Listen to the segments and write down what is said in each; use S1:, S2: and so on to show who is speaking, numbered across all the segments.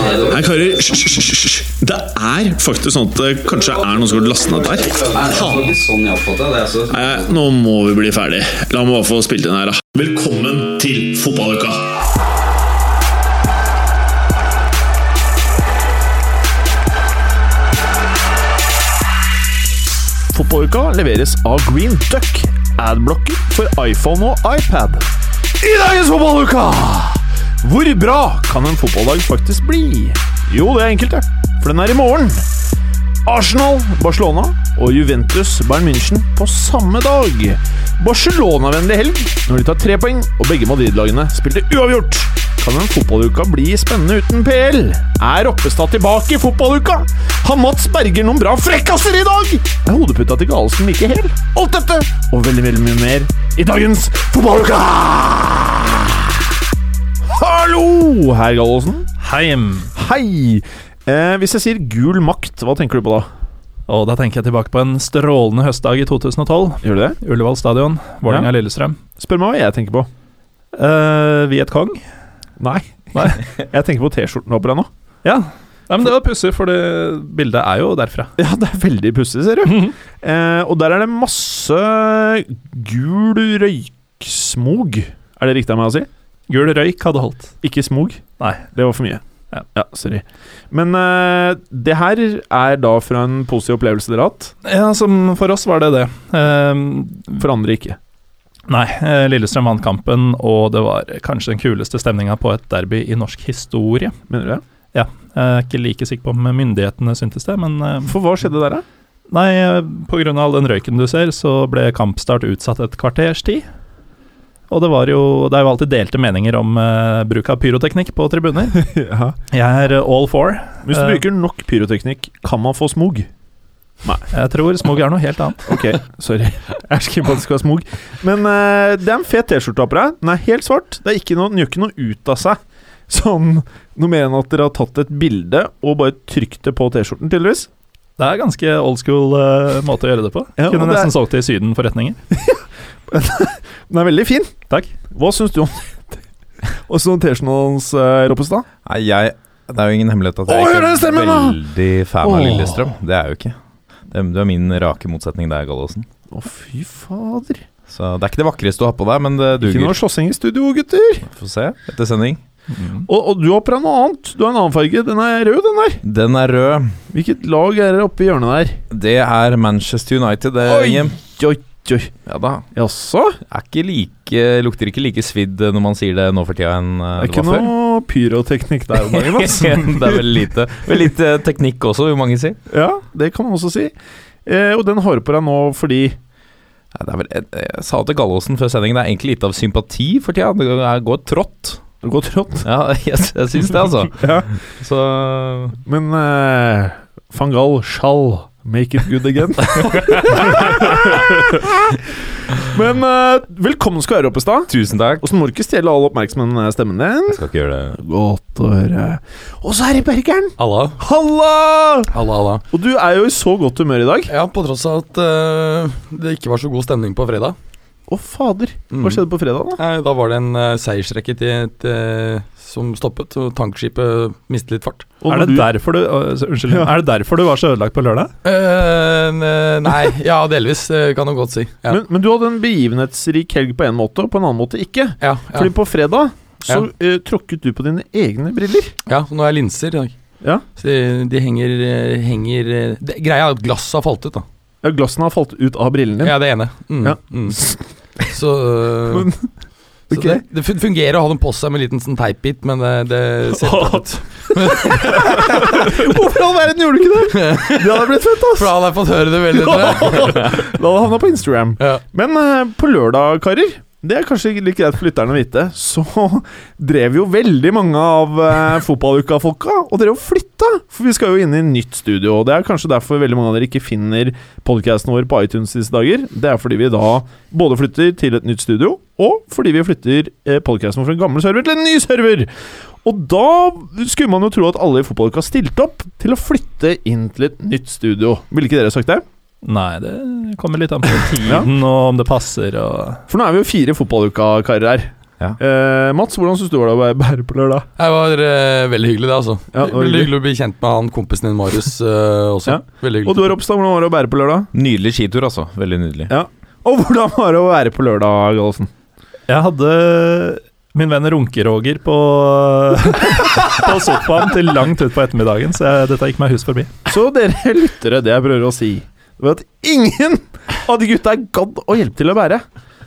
S1: hører hysj, hysj, hysj, hysj. Det er faktisk sånn at det kanskje er noen som har lastet ned der.
S2: ikke sånn jeg oppfatta det. Altså.
S1: Nei, nå må vi bli ferdig. La meg bare få spilt inn her, da. Velkommen til fotballuka!
S3: Fotballuka leveres av Green Duck, adblocker for iPhone og iPad. I dagens fotballuka! Hvor bra kan en fotballdag faktisk bli? Jo, det er enkelt, det. For den er i morgen. Arsenal, Barcelona og Juventus Bayern München på samme dag. Barcelona-vennlig helg når de tar tre poeng og begge Madrid-lagene spilte uavgjort. Kan en fotballuke bli spennende uten PL? Er Roppestad tilbake i fotballuka? Har Mats Berger noen bra frekkaser i dag? Er hodeputa til Galesen like hel? Alt dette og veldig, veldig mye mer i dagens fotballuka! Hallo, herr Gallosen.
S4: Heim.
S3: Hei! Eh, hvis jeg sier gul makt, hva tenker du på da?
S4: Og da tenker jeg tilbake på en strålende høstdag i 2012.
S3: Gjør du det?
S4: Ullevål stadion, Vålerenga-Lillestrøm.
S3: Spør meg hva jeg tenker på.
S4: Uh, Vietkong.
S3: Nei. Jeg tenker på T-skjorten oppe der nå.
S4: Ja. Nei, men Det var pussig, for det bildet er jo derfra.
S3: Ja, det er veldig pussig, ser du.
S4: Mhm.
S3: Eh, og der er det masse gul røyksmog. Er det riktig av meg å si?
S4: Gul røyk hadde holdt.
S3: Ikke smog.
S4: Nei.
S3: Det var for mye.
S4: Ja.
S3: sorry. Men eh, det her er da fra en positiv opplevelse dere har hatt.
S4: Ja, som for oss var det det. Ehm,
S3: For andre ikke.
S4: nei, eh, Lillestrøm vant kampen, og det var kanskje den kuleste stemninga på et derby i norsk historie.
S3: Mener du det?
S4: Jeg er ikke like sikker på om myndighetene syntes det, men eh,
S3: For hva skjedde der, da?
S4: Nei, eh, på grunn av all den røyken du ser, så ble kampstart utsatt et kvarters tid. Og det var jo Det er jo alltid delte meninger om eh, bruk av pyroteknikk på tribuner.
S3: ja.
S4: Jeg er eh, all for.
S3: Hvis du
S4: Eh.
S3: bruker nok pyroteknikk, kan man få smog.
S4: Jeg tror smog er noe helt annet.
S3: Ok, sorry. Jeg er sikker på at det skal være smog. Men eh, det er en fet T-skjorte på deg. Den er helt svart. Det er ikke noe, den gjør ikke noe ut av seg. Sånn noe mer enn at dere har tatt et bilde og bare trykt det på T-skjorten, tydeligvis.
S4: Det er ganske old school eh, måte å gjøre det på.
S3: Ja, og
S4: Kunne
S3: det er-
S4: nesten solgt til Syden-forretninger.
S3: Den er veldig fin.
S4: Takk.
S3: Hva syns du om Og så T-skjorten hans, eh, Roppestad?
S5: Nei, jeg Det er jo ingen hemmelighet at
S3: Å,
S5: jeg
S3: hør den
S5: ikke er
S3: stemmen, da!
S5: veldig fan
S3: Åh.
S5: av Lillestrøm. Det er jeg jo ikke. Det, du er min rake motsetning der, Gallosen.
S3: Å, fy fader.
S5: Så det er ikke det vakreste du har på deg, men det
S3: Ikke
S5: duger.
S3: noe slåssing i studio, gutter.
S5: Få se etter sending.
S4: Mm.
S3: Og, og du har på deg noe annet. Du har en annen farge. Den er rød, den der.
S5: Den er rød.
S3: Hvilket lag er det oppe i hjørnet der?
S5: Det er Manchester United, det,
S3: Oi.
S5: Inge.
S3: Oi, oi.
S5: Ja da.
S3: Jaså?
S5: Er ikke like, lukter ikke like svidd når man sier det nå for tida enn eh,
S3: Det er
S5: det
S3: ikke
S5: var før.
S3: noe pyroteknikk der om dagen, ass.
S5: det er veldig lite, veldig lite teknikk også, vil mange si.
S3: Ja, det kan man også si. Eh, og den har du på deg nå fordi
S5: Ja, det er vel, jeg, jeg sa til Gallosen før sendingen, det er egentlig lite av sympati for tida. Det er- går trått.
S3: Det går trått.
S5: Ja, jeg, jeg syns det, altså.
S3: Ja.
S5: Så
S3: Men eh, van Gaal shall make it good again. Men eh, velkommen skal du være, Oppestad.
S5: Tusen takk.
S3: Og så må du ikke stjele all oppmerksomheten med stemmen din.
S5: Jeg skal ikke gjøre det.
S3: Godt å høre. Og så er det Bergeren.
S6: Halla.
S3: Halla!
S6: Halla, halla.
S3: Og du er jo i så godt humør i dag.
S6: Ja, på tross av at eh, det ikke var så god stemning på fredag.
S3: Å, fader.
S6: Mm.
S3: Hva skjedde på fredag, da?
S6: Nei, da var det en eh, seiersrekke til, til, som stoppet, og tankskipet mistet litt fart.
S3: Og
S4: Er
S3: når
S4: det,
S3: du-
S4: derfor du, øh, så- unnskyld, er det derfor du var så ødelagt på lørdag?
S6: Eh, ne- nei, ja, delvis, eh, kan du godt si. Ja.
S3: men, men du hadde en begivenhetsrik helg på en måte, og på en annen måte ikke.
S6: ja, ja,
S3: Fordi på fredag så eh, tråkket du på dine egne briller.
S6: ja, så nå er jeg linser i dag.
S3: Ja.
S6: Så de, de henger, eh, henger eh, det, Greia er at glasset har falt ut, da.
S3: Ja, glassene har falt ut av brillene dine.
S6: Ja, det ene. Mm,
S3: Ja.
S6: mm. Så, eh,
S3: Men-
S6: så
S3: ok.
S6: det, det fun- fungerer å ha dem på seg med en liten sånn teipbit, men det, det ser ut.
S3: Hvorfor i all verden gjorde du ikke det?! Det hadde blitt fett, ass!
S6: For da hadde jeg fått høre det veldig.
S3: da hadde jeg havna på Instagram.
S6: Ja.
S3: Men eh, på lørdag, karer det er kanskje ikke like greit for lytterne å vite. Så drev jo veldig mange av eh, fotballuka-folka og drev og flytta. For vi skal jo inn i nytt studio, og det er kanskje derfor veldig mange av dere ikke finner podkasten vår på iTunes disse dager. Det er fordi vi da både flytter til et nytt studio, og fordi vi flytter eh, podkasten vår fra en gammel server til en ny server. Og da skulle man jo tro at alle i fotballuka stilte opp til å flytte inn til et nytt studio. Ville ikke dere sagt det?
S4: Nei, det kommer litt an på tiden og om det passer og
S3: For nå er vi jo fire fotballuka-karer her.
S5: Ja.
S3: Eh, Mats, hvordan syns du var det å være bærer på lørdag?
S6: Det var eh, veldig hyggelig, det, altså.
S3: Ja, det var
S6: veldig
S3: hyggelig.
S6: hyggelig å bli kjent med han kompisen din, Marius, eh, også.
S3: Ja.
S6: Veldig
S3: Og
S6: hyggelig.
S3: du Ropstad, hvordan var det å bære på lørdag?
S5: Nydelig skitur, altså. Veldig nydelig.
S3: Og hvordan var det å være på lørdag, Gallosen?
S4: Jeg hadde min venn Runke-Roger på, på sofaen til langt utpå ettermiddagen, så jeg, dette gikk meg hus forbi.
S3: Så dere lyttere, det jeg prøver å si, det var at ingen av de gutta gadd å hjelpe til å bære.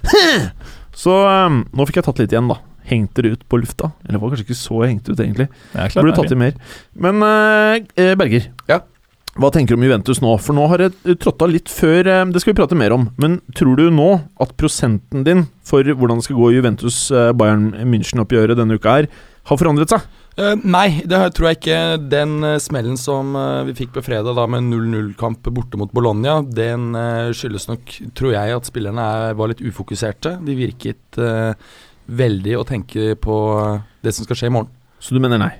S3: Så eh, nå fikk jeg tatt litt igjen, da. Hengt dere ut på lufta. Eller var kanskje ikke så hengt ut, egentlig.
S4: Jeg klarte
S3: Burde
S4: meg
S3: tatt i
S4: fint.
S3: mer. Men eh, eh, Berger,
S6: Ja.
S3: hva tenker du om Juventus nå? For nå har det tråtta litt før eh, Det skal vi prate mer om. Men tror du nå at prosenten din for hvordan det skal gå i Juventus-Bayern München-oppgjøret denne uka, her har forandret seg?
S6: Eh, nei, det har- tror jeg ikke. Den eh, smellen som eh, vi fikk på fredag da med 0-0-kamp borte mot Bologna, den eh, skyldes nok, tror jeg, at spillerne er, var litt ufokuserte. De virket eh, veldig å tenke på eh, det som skal skje i morgen.
S3: Så du mener nei?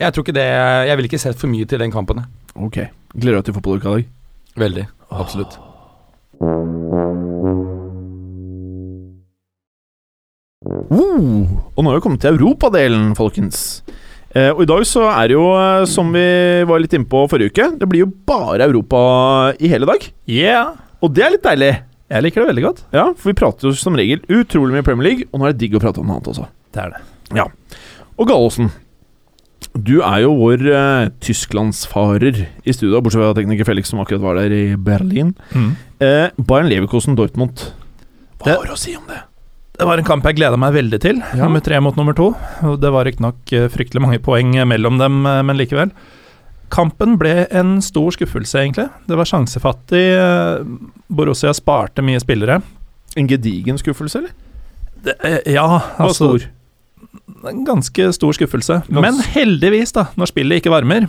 S6: Jeg tror ikke det Jeg ville ikke sett for mye til den kampen. jeg.
S3: Ok. Gleder du deg til fotballuka i dag?
S6: Veldig. Absolutt.
S3: Wow. Og nå har vi kommet til europadelen, folkens. Eh, og i dag så er det jo, eh, som vi var litt inne på forrige uke, det blir jo bare Europa i hele dag.
S4: Yeah!
S3: Og det er litt deilig.
S4: Jeg liker det veldig godt.
S3: Ja, for vi prater jo som regel utrolig mye Premier League, og nå er det digg å prate om noe annet også.
S4: Det er det.
S3: Og Gallosen, du er jo vår eh, tysklandsfarer i studio, bortsett fra tekniker Felix som akkurat var der i Berlin.
S4: Mm.
S3: Eh, Bayern Leverkosen Dortmund. Hva
S4: Det-
S3: har du å si om det?
S4: Det var en kamp jeg gleda meg veldig til.
S3: Ja.
S4: Nummer tre mot nummer to. Og Det var riktignok eh, fryktelig mange poeng eh, mellom dem, eh, men likevel. Kampen ble en stor skuffelse, egentlig. Det var sjansefattig. eh, Borussia sparte mye spillere.
S3: En gedigen skuffelse, eller?
S4: Det, eh, ja, altså
S3: stor.
S4: En ganske stor skuffelse. Men heldigvis, da, når spillet ikke varmer,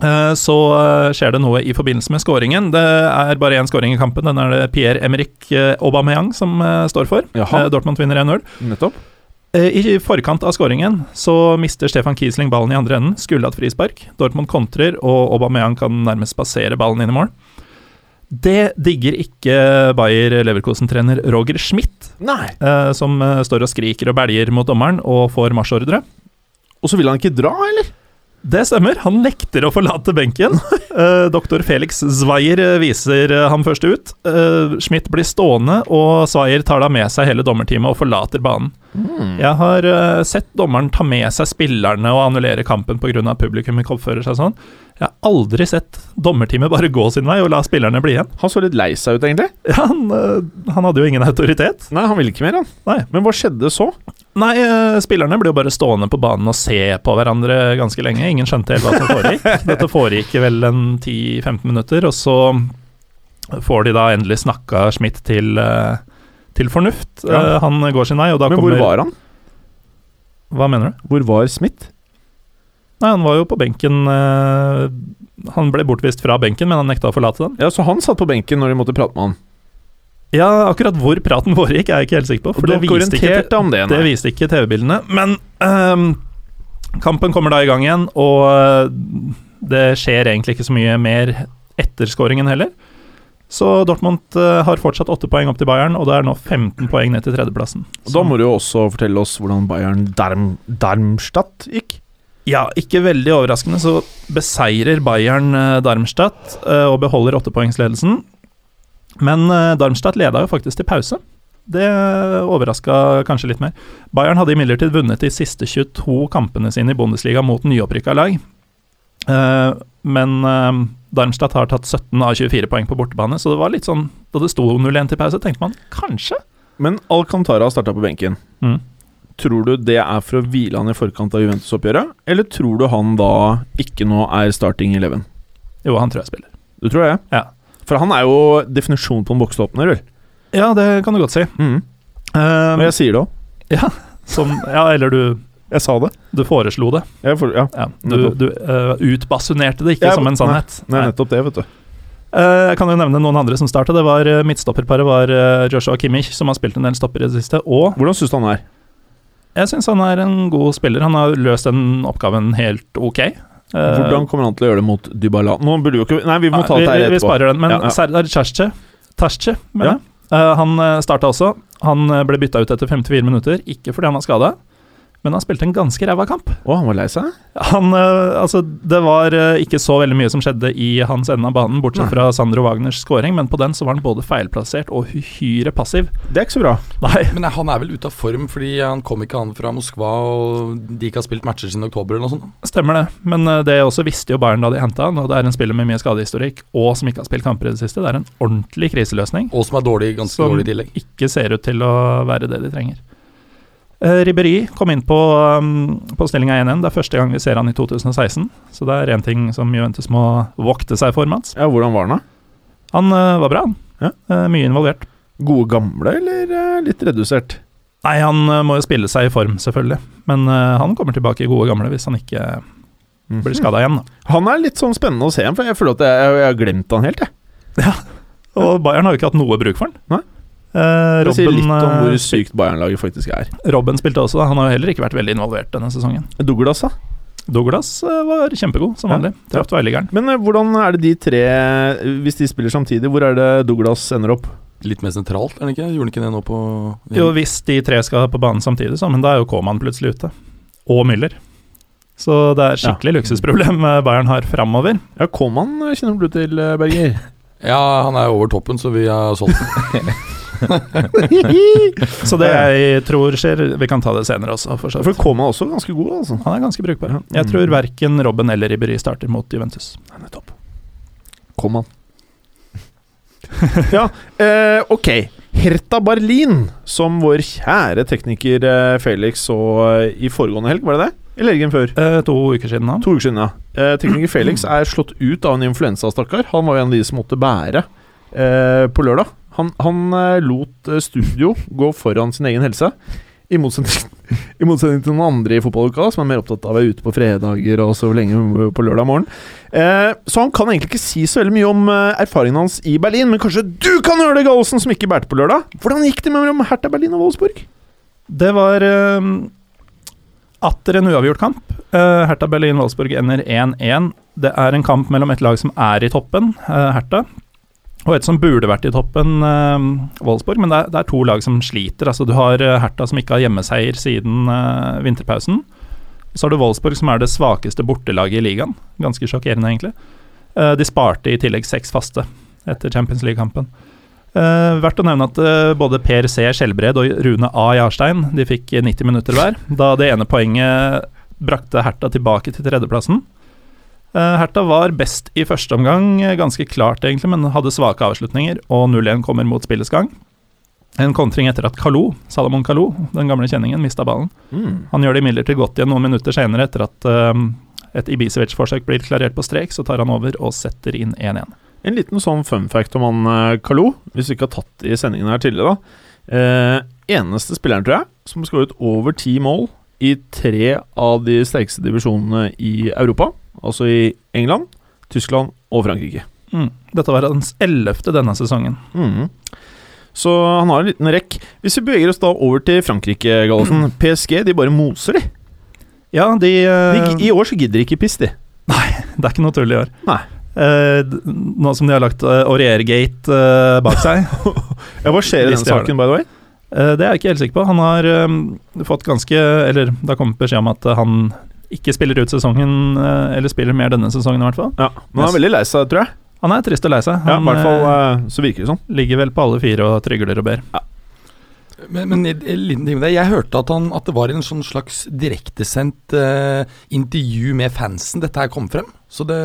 S4: eh, så eh, skjer det noe i forbindelse med skåringen. Det er bare én skåring i kampen. Den er det Pierre-Emerick eh, Aubameyang som eh, står for.
S3: Jaha.
S4: Eh, Dortmund vinner 1-0.
S3: Nettopp.
S4: Eh, I forkant av skåringen så mister Stefan Kiesling ballen i andre enden, skulle hatt frispark. Dortmund kontrer, og Aubameyang kan nærmest passere ballen inn i mål. Det digger ikke Bayer Leverkosen-trener Roger Schmidt,
S3: Nei.
S4: eh, som eh, står og skriker og belger mot dommeren og får marsjordre.
S3: Og så vil han ikke dra, eller?
S4: Det stemmer, han nekter å forlate benken. Eh, Doktor Felix Zweier eh, viser eh, ham først ut. Eh, Schmidt blir stående, og Zweier tar da med seg hele dommerteamet og forlater banen. Jeg har eh, sett dommeren ta med seg spillerne og annullere kampen pga. at publikum ikke oppfører seg sånn. Jeg har aldri sett dommerteamet bare gå sin vei og la spillerne bli igjen.
S3: Han så litt lei seg ut, egentlig.
S4: Han, eh, han hadde jo ingen autoritet.
S3: Nei, han ville ikke mer, han.
S4: Nei.
S3: Men hva skjedde så?
S4: Nei, eh, spillerne ble jo bare stående på banen og se på hverandre ganske lenge. Ingen skjønte helt hva som foregikk. Dette foregikk i vel en 10-15 minutter, og så får de da endelig snakka Schmidt til, eh, til fornuft.
S3: Ja.
S4: Eh, Han går sin vei, og da
S3: Men
S4: kommer
S3: hvor var han?
S4: Hva mener du?
S3: Hvor var Smith?
S4: Nei, han var jo på benken eh, Han ble bortvist fra benken, men han nekta å forlate den.
S3: Ja, Så han satt på benken når de måtte prate med han.
S4: Ja, akkurat hvor praten foregikk, er jeg ikke helt sikker på.
S3: Og
S4: For det
S3: dere
S4: viste ikke
S3: orienterte om det.
S4: Det
S3: nei.
S4: viste ikke TV-bildene, men ehm, kampen kommer da i gang igjen, og eh, det skjer egentlig ikke så mye mer etter skåringen heller. Så Dortmund eh, har fortsatt åtte poeng opp til Bayern, og det er nå 15 poeng ned til tredjeplassen.
S3: Og Da må du jo også fortelle oss hvordan Bayern Darm, Darmstadt gikk.
S4: Ja, ikke veldig overraskende så beseirer Bayern eh, Darmstadt eh, og beholder åttepoengsledelsen. Men eh, Darmstadt leda jo faktisk til pause. Det overraska kanskje litt mer. Bayern hadde imidlertid vunnet de siste 22 kampene sine i Bundesliga mot nyopprykka lag. Eh, Men eh, Darmstadt har tatt 17 av 24 poeng på bortebane, så det var litt sånn Da det sto 0-1 til pause, tenkte man kanskje?
S3: Men Alcantara starta på benken.
S4: Mm.
S3: Tror du det er for å hvile han i forkant av Juventus-oppgjøret, eller tror du han da ikke nå er starting eleven?
S4: Jo, han tror jeg spiller.
S3: Det tror jeg.
S4: Ja.
S3: For han er jo definisjonen på en bokseåpner, vel.
S4: Ja, det kan du godt si.
S3: Mm.
S4: Eh,
S3: Men jeg sier det òg.
S4: Som, ja, eller du
S3: Jeg sa det.
S4: Du foreslo det.
S3: Jeg får, ja.
S4: Ja, du
S3: Nettopp.
S4: du eh, utbasunerte det ikke
S3: Jeg-
S4: som en sannhet.
S3: Nei,
S4: Nei.
S3: nettopp det, vet du.
S4: Eh, jeg kan jo nevne noen andre som starta. Det var eh, Midtstopperparet var eh, Joshua Kimmich, som har spilt en del stopper i det siste. Og
S3: Hvordan syns du han er?
S4: jeg syns han er en god spiller. Han har løst den oppgaven helt ok. Eh,
S3: Hvordan kommer han til å gjøre det mot Dybala? Nå burde vi jo ikke Nei, vi må
S4: nei,
S3: ta det
S4: vi,
S3: her
S4: vi
S3: etterpå.
S4: sparer den. Men
S3: Ja, ja.
S4: Serdar Tasjce, mener
S3: Ja.
S4: jeg. Eh, han starta også. Han eh, ble bytta ut etter 54 minutter, ikke fordi han var skada, men han spilte en ganske ræva kamp.
S3: Å, han var lei seg?
S4: Han, eh, altså, det var eh, ikke så veldig mye som skjedde i hans ende av banen, bortsett fra Sandro Wagners scoring, men på den så var han både feilplassert og uhyre passiv.
S3: Det er ikke så bra.
S4: Nei,
S6: Men han er vel ute av form, fordi han kom ikke han fra Moskva, og de ikke har spilt matcher siden oktober eller noe sånt.
S4: Stemmer det, men eh, det også visste jo Bayern da de henta han, og det er en spiller med mye skadehistorikk, og som ikke har spilt kamper i det siste. Det er en ordentlig kriseløsning.
S6: Og som er dårlig, ganske
S4: Som-
S6: dårlig i tillegg.
S4: Ikke ser ut til å være det de trenger. Eh, Ribéry kom inn på, um, på stillinga 1-1. Det er første gang vi ser han i 2016, så det er én ting som Juventus må vokte seg for, Mats.
S3: Ja, Hvordan var han, da?
S4: Han eh, var bra, han.
S3: Ja.
S4: Eh, mye involvert.
S3: Gode gamle, eller eh, litt redusert?
S4: Nei, han eh, må jo spille seg i form, selvfølgelig, men eh, han kommer tilbake i gode gamle hvis han ikke blir skada igjen, da.
S3: Han er litt sånn spennende å se igjen, for jeg føler at jeg, jeg, har glemt han helt, jeg.
S4: Og Bayern har jo ikke hatt noe bruk for han.
S3: Nei.
S4: Eh,
S3: Det sier
S4: Robben,
S3: litt om
S4: eh,
S3: hvor sykt Bayern-laget faktisk er.
S4: Robben spilte også, da. Han har jo heller ikke vært veldig involvert denne sesongen.
S3: Douglas, da?
S4: Douglas eh, var kjempegod, som
S3: Ja.
S4: vanlig. Traff tverrliggeren.
S3: Men eh, hvordan er det de tre Hvis de spiller samtidig, hvor er det Douglas ender opp?
S6: Litt mer sentralt, er det ikke? Gjorde han ikke det nå på
S4: Jo, hvis de tre skal på banen samtidig, så, men da er jo Koman plutselig ute. Og Müller. Så det er skikkelig luksusproblem eh, Bayern har framover.
S3: Ja, Koman eh, kjenner du til, eh, Berger?
S6: Ja, han er over toppen, så vi har solgt den.
S4: Så det jeg tror skjer Vi kan ta det senere også, for så
S3: For
S4: vidt.
S3: Koman er også ganske god, altså.
S4: Han er ganske brukbar.
S3: Ja.
S4: Jeg tror
S3: Mm.
S4: verken Robben eller Ribéry starter mot Juventus.
S3: Han er topp. Koman. ja, eh, ok. Herta Berlin, som vår kjære tekniker eh, Felix så eh, i foregående helg, var det det? Eller helgen før?
S4: Eh, to uker siden nå.
S3: To uker siden, ja. Eh, tekniker Felix er slått ut av en influensa, stakkar. Han var jo en av de som måtte bære eh, på lørdag. Han, han eh, lot eh, studio gå foran sin egen helse. I motsetning, I motsetning til noen andre i fotballuka, som er mer opptatt av å være ute på fredager og så lenge på lørdag morgen. Eh, så han kan egentlig ikke si så veldig mye om eh, erfaringen hans i Berlin, men kanskje du kan gjøre det, Gallosen, som ikke bærte på lørdag? Hvordan gikk det mellom Hertha Berlin og Wolfsburg?
S4: Det var eh, atter en uavgjort kamp. Eh, Hertha Berlin-Wolfsburg ender 1-1. Det er en kamp mellom et lag som er i toppen, eh, Hertha, og et som burde vært i toppen, eh, Wolfsburg. Men det er, det er to lag som sliter. Altså, du har eh, Hertha som ikke har hjemmeseier siden eh, vinterpausen. Så har du Wolfsburg som er det svakeste bortelaget i ligaen. Ganske sjokkerende, egentlig. Eh, de sparte i tillegg seks faste etter Champions League-kampen. Eh, verdt å nevne at eh, både Per C. Skjelbred og Rune A. Jarstein de fikk eh, 90 minutter hver, da det ene poenget brakte Herta tilbake til tredjeplassen. Eh, Herta var best i første omgang, eh, ganske klart egentlig, men hadde svake avslutninger, og 0-1 kommer mot spillets gang. En kontring etter at Kalou, Salomon Kalou, den gamle kjenningen, mista ballen. Han gjør det imidlertid godt igjen noen minutter senere, etter at eh, et Ibisevic-forsøk blir klarert på strek, så tar han over og setter inn 1-1.
S3: En liten sånn fun fact om han eh, Kalou, hvis du ikke har tatt det i sendingen her tidligere, da. Eh, eneste spilleren, tror jeg, som skåret over ti mål i tre av de sterkeste divisjonene i Europa. Altså i England, Tyskland og Frankrike.
S4: Mm. Dette var hans ellevte denne sesongen.
S3: Mhm. Så han har en liten rekk. Hvis vi beveger oss da over til Frankrike, Gallosen. PSG de bare moser, de.
S4: Ja, de,
S3: de.
S4: eh,
S3: gi- I år så gidder de ikke piss, de.
S4: Det er ikke noe tull i år.
S3: Nei.
S4: Eh, d- nå som de har lagt uh, Aurier-gate eh, bak seg.
S3: Ja, hva skjer i
S4: Hvis
S3: den
S4: de har
S3: saken, by the way?
S4: Eh, det er jeg ikke helt sikker på. Han har eh, fått ganske Eller det har kommet beskjed om at eh, han ikke spiller ut sesongen, eh, eller spiller mer denne sesongen i hvert fall.
S3: Ja, Men han er veldig lei seg, tror jeg.
S4: Han er trist og lei seg.
S3: Ja,
S4: Han
S3: I hvert fall
S4: eh,
S3: eh, så virker det sånn.
S4: ligger vel på alle fire og trygler og ber.
S6: Men, men en liten ting med det. Jeg hørte at, han, at det var en sånn slags direktesendt eh, intervju med fansen dette her kom frem. Så det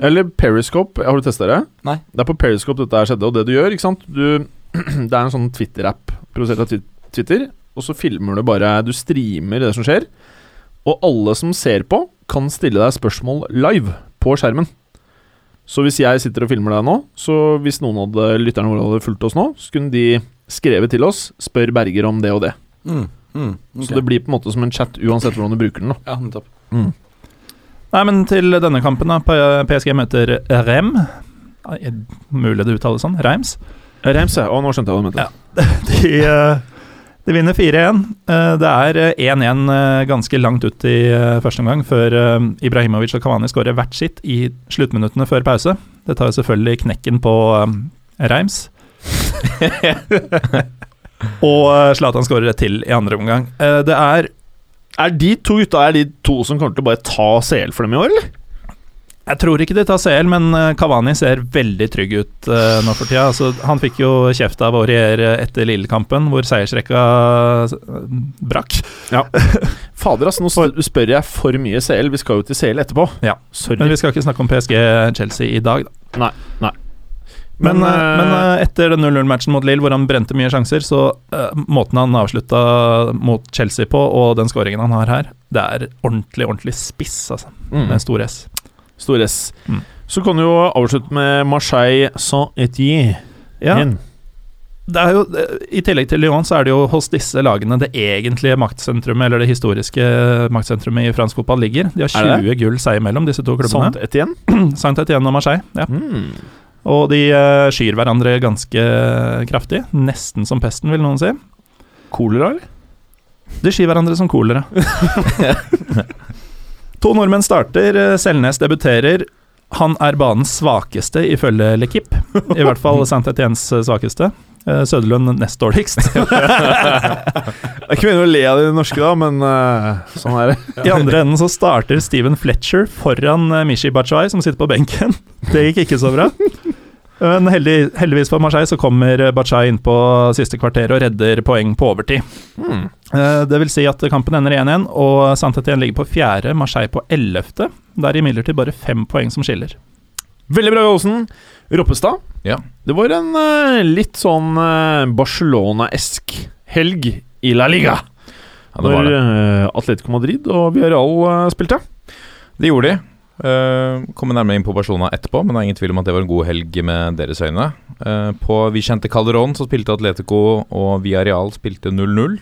S3: Eller Periscope. Har du testa det?
S6: Nei.
S3: Det er på Periscope dette her skjedde. Og det du gjør, ikke sant du, Det er en sånn Twitter-app produsert av Twi- Twitter. Og så filmer du bare Du streamer det som skjer. Og alle som ser på, kan stille deg spørsmål live på skjermen. Så hvis jeg sitter og filmer deg nå, så hvis noen av de lytterne våre hadde fulgt oss nå, så kunne de skrevet til oss 'Spør Berger om det og det'.
S6: mm, mm, ok.
S3: Så det blir på en måte som en chat uansett hvordan du bruker den. da
S6: Ja, nettopp.
S5: Mm.
S4: Nei, men til denne kampen, da. P- PSG møter Rem. Eh, Mulig det uttales sånn. Reims.
S3: Reims, ja. Å, nå skjønte jeg hva du mente.
S4: Ja. De, eh, de vinner 4-1. Eh, Det er eh, 1-1 eh, ganske langt ut i eh, første omgang, før eh, Ibrahimovic og Kavani skårer hvert sitt i sluttminuttene før pause. Det tar jo selvfølgelig knekken på eh, Reims. Og eh, Zlatan skårer et til i andre omgang.
S3: Eh, Det er Er de to gutta Er de to som kommer til å bare ta CL for dem i år, eller?
S4: Jeg tror ikke de tar CL, men eh, Cavani ser veldig trygg ut eh, nå for tida. Altså, han fikk jo kjeft av Aurier eh, etter Lillekampen, hvor seiersrekka eh, brakk.
S3: Fader, ass, nå sp- spør jeg for mye CL. Vi skal jo til CL etterpå.
S4: Ja. Men
S3: Sorry.
S4: vi skal ikke snakke om PSG Chelsea i dag, da.
S3: Nei, nei.
S4: Men,
S3: Men,
S4: eh, men eh, etter den 0-0-matchen mot Lille, hvor han brente mye sjanser, så eh, måten han avslutta mot Chelsea på, og den skåringen han har her, det er ordentlig, ordentlig spiss, altså.
S3: Mm.
S4: Med en stor S.
S3: Stor S.
S4: Mm.
S3: Så kan du jo avslutte med Marseille Saint-Étienne.
S4: Ja, det er jo, eh, I tillegg til Lyon så er det jo hos disse lagene det egentlige maktsentrumet, eller det historiske maktsentrumet i fransk fotball ligger. De har
S3: Er det
S4: 20 gull seg imellom, disse to klubbene.
S3: Saint-Étienne.
S4: Saint-Étienne og Marseille. Ja.
S3: Mm.
S4: Og de eh, skyr hverandre ganske kraftig. Nesten som pesten, vil noen si.
S3: Kolera, eller?
S4: De skyr hverandre som kolera. to nordmenn starter, eh, Selnes debuterer. Han er banens svakeste, ifølge Lekip. I hvert fall Saint-Étiennes svakeste. Eh, Søderlund nest dårligst.
S3: Det er ikke meningen å le av de norske, da, men eh, sånn er det.
S4: I andre enden så starter Steven Fletcher foran eh, Mishi Bachai, som sitter på benken. Det gikk ikke så bra. Men heldig, heldigvis for Marseille så kommer eh, Bachai inn på siste kvarter og redder poeng på overtid.
S3: Mm.
S4: Eh, Det vil si at kampen ender 1-1, og Saint-Étienne ligger på fjerde, Marseille på ellevte. Det er imidlertid bare fem poeng som skiller.
S3: Veldig bra, Johnsen. Roppestad.
S5: Ja.
S3: Det var en eh, litt sånn eh, Barcelona-esk helg i La Liga.
S5: Ja, det var
S3: Når
S5: det.
S3: eh, Atletico Madrid og Villarreal eh, spilte.
S5: Det gjorde de. Uh, Kommer nærmere inn på Barcelona etterpå, men det er ingen tvil om at det var en god helg med deres øyne. Eh, på Vicente Calderón så spilte Atletico, og Villarreal spilte 0-0.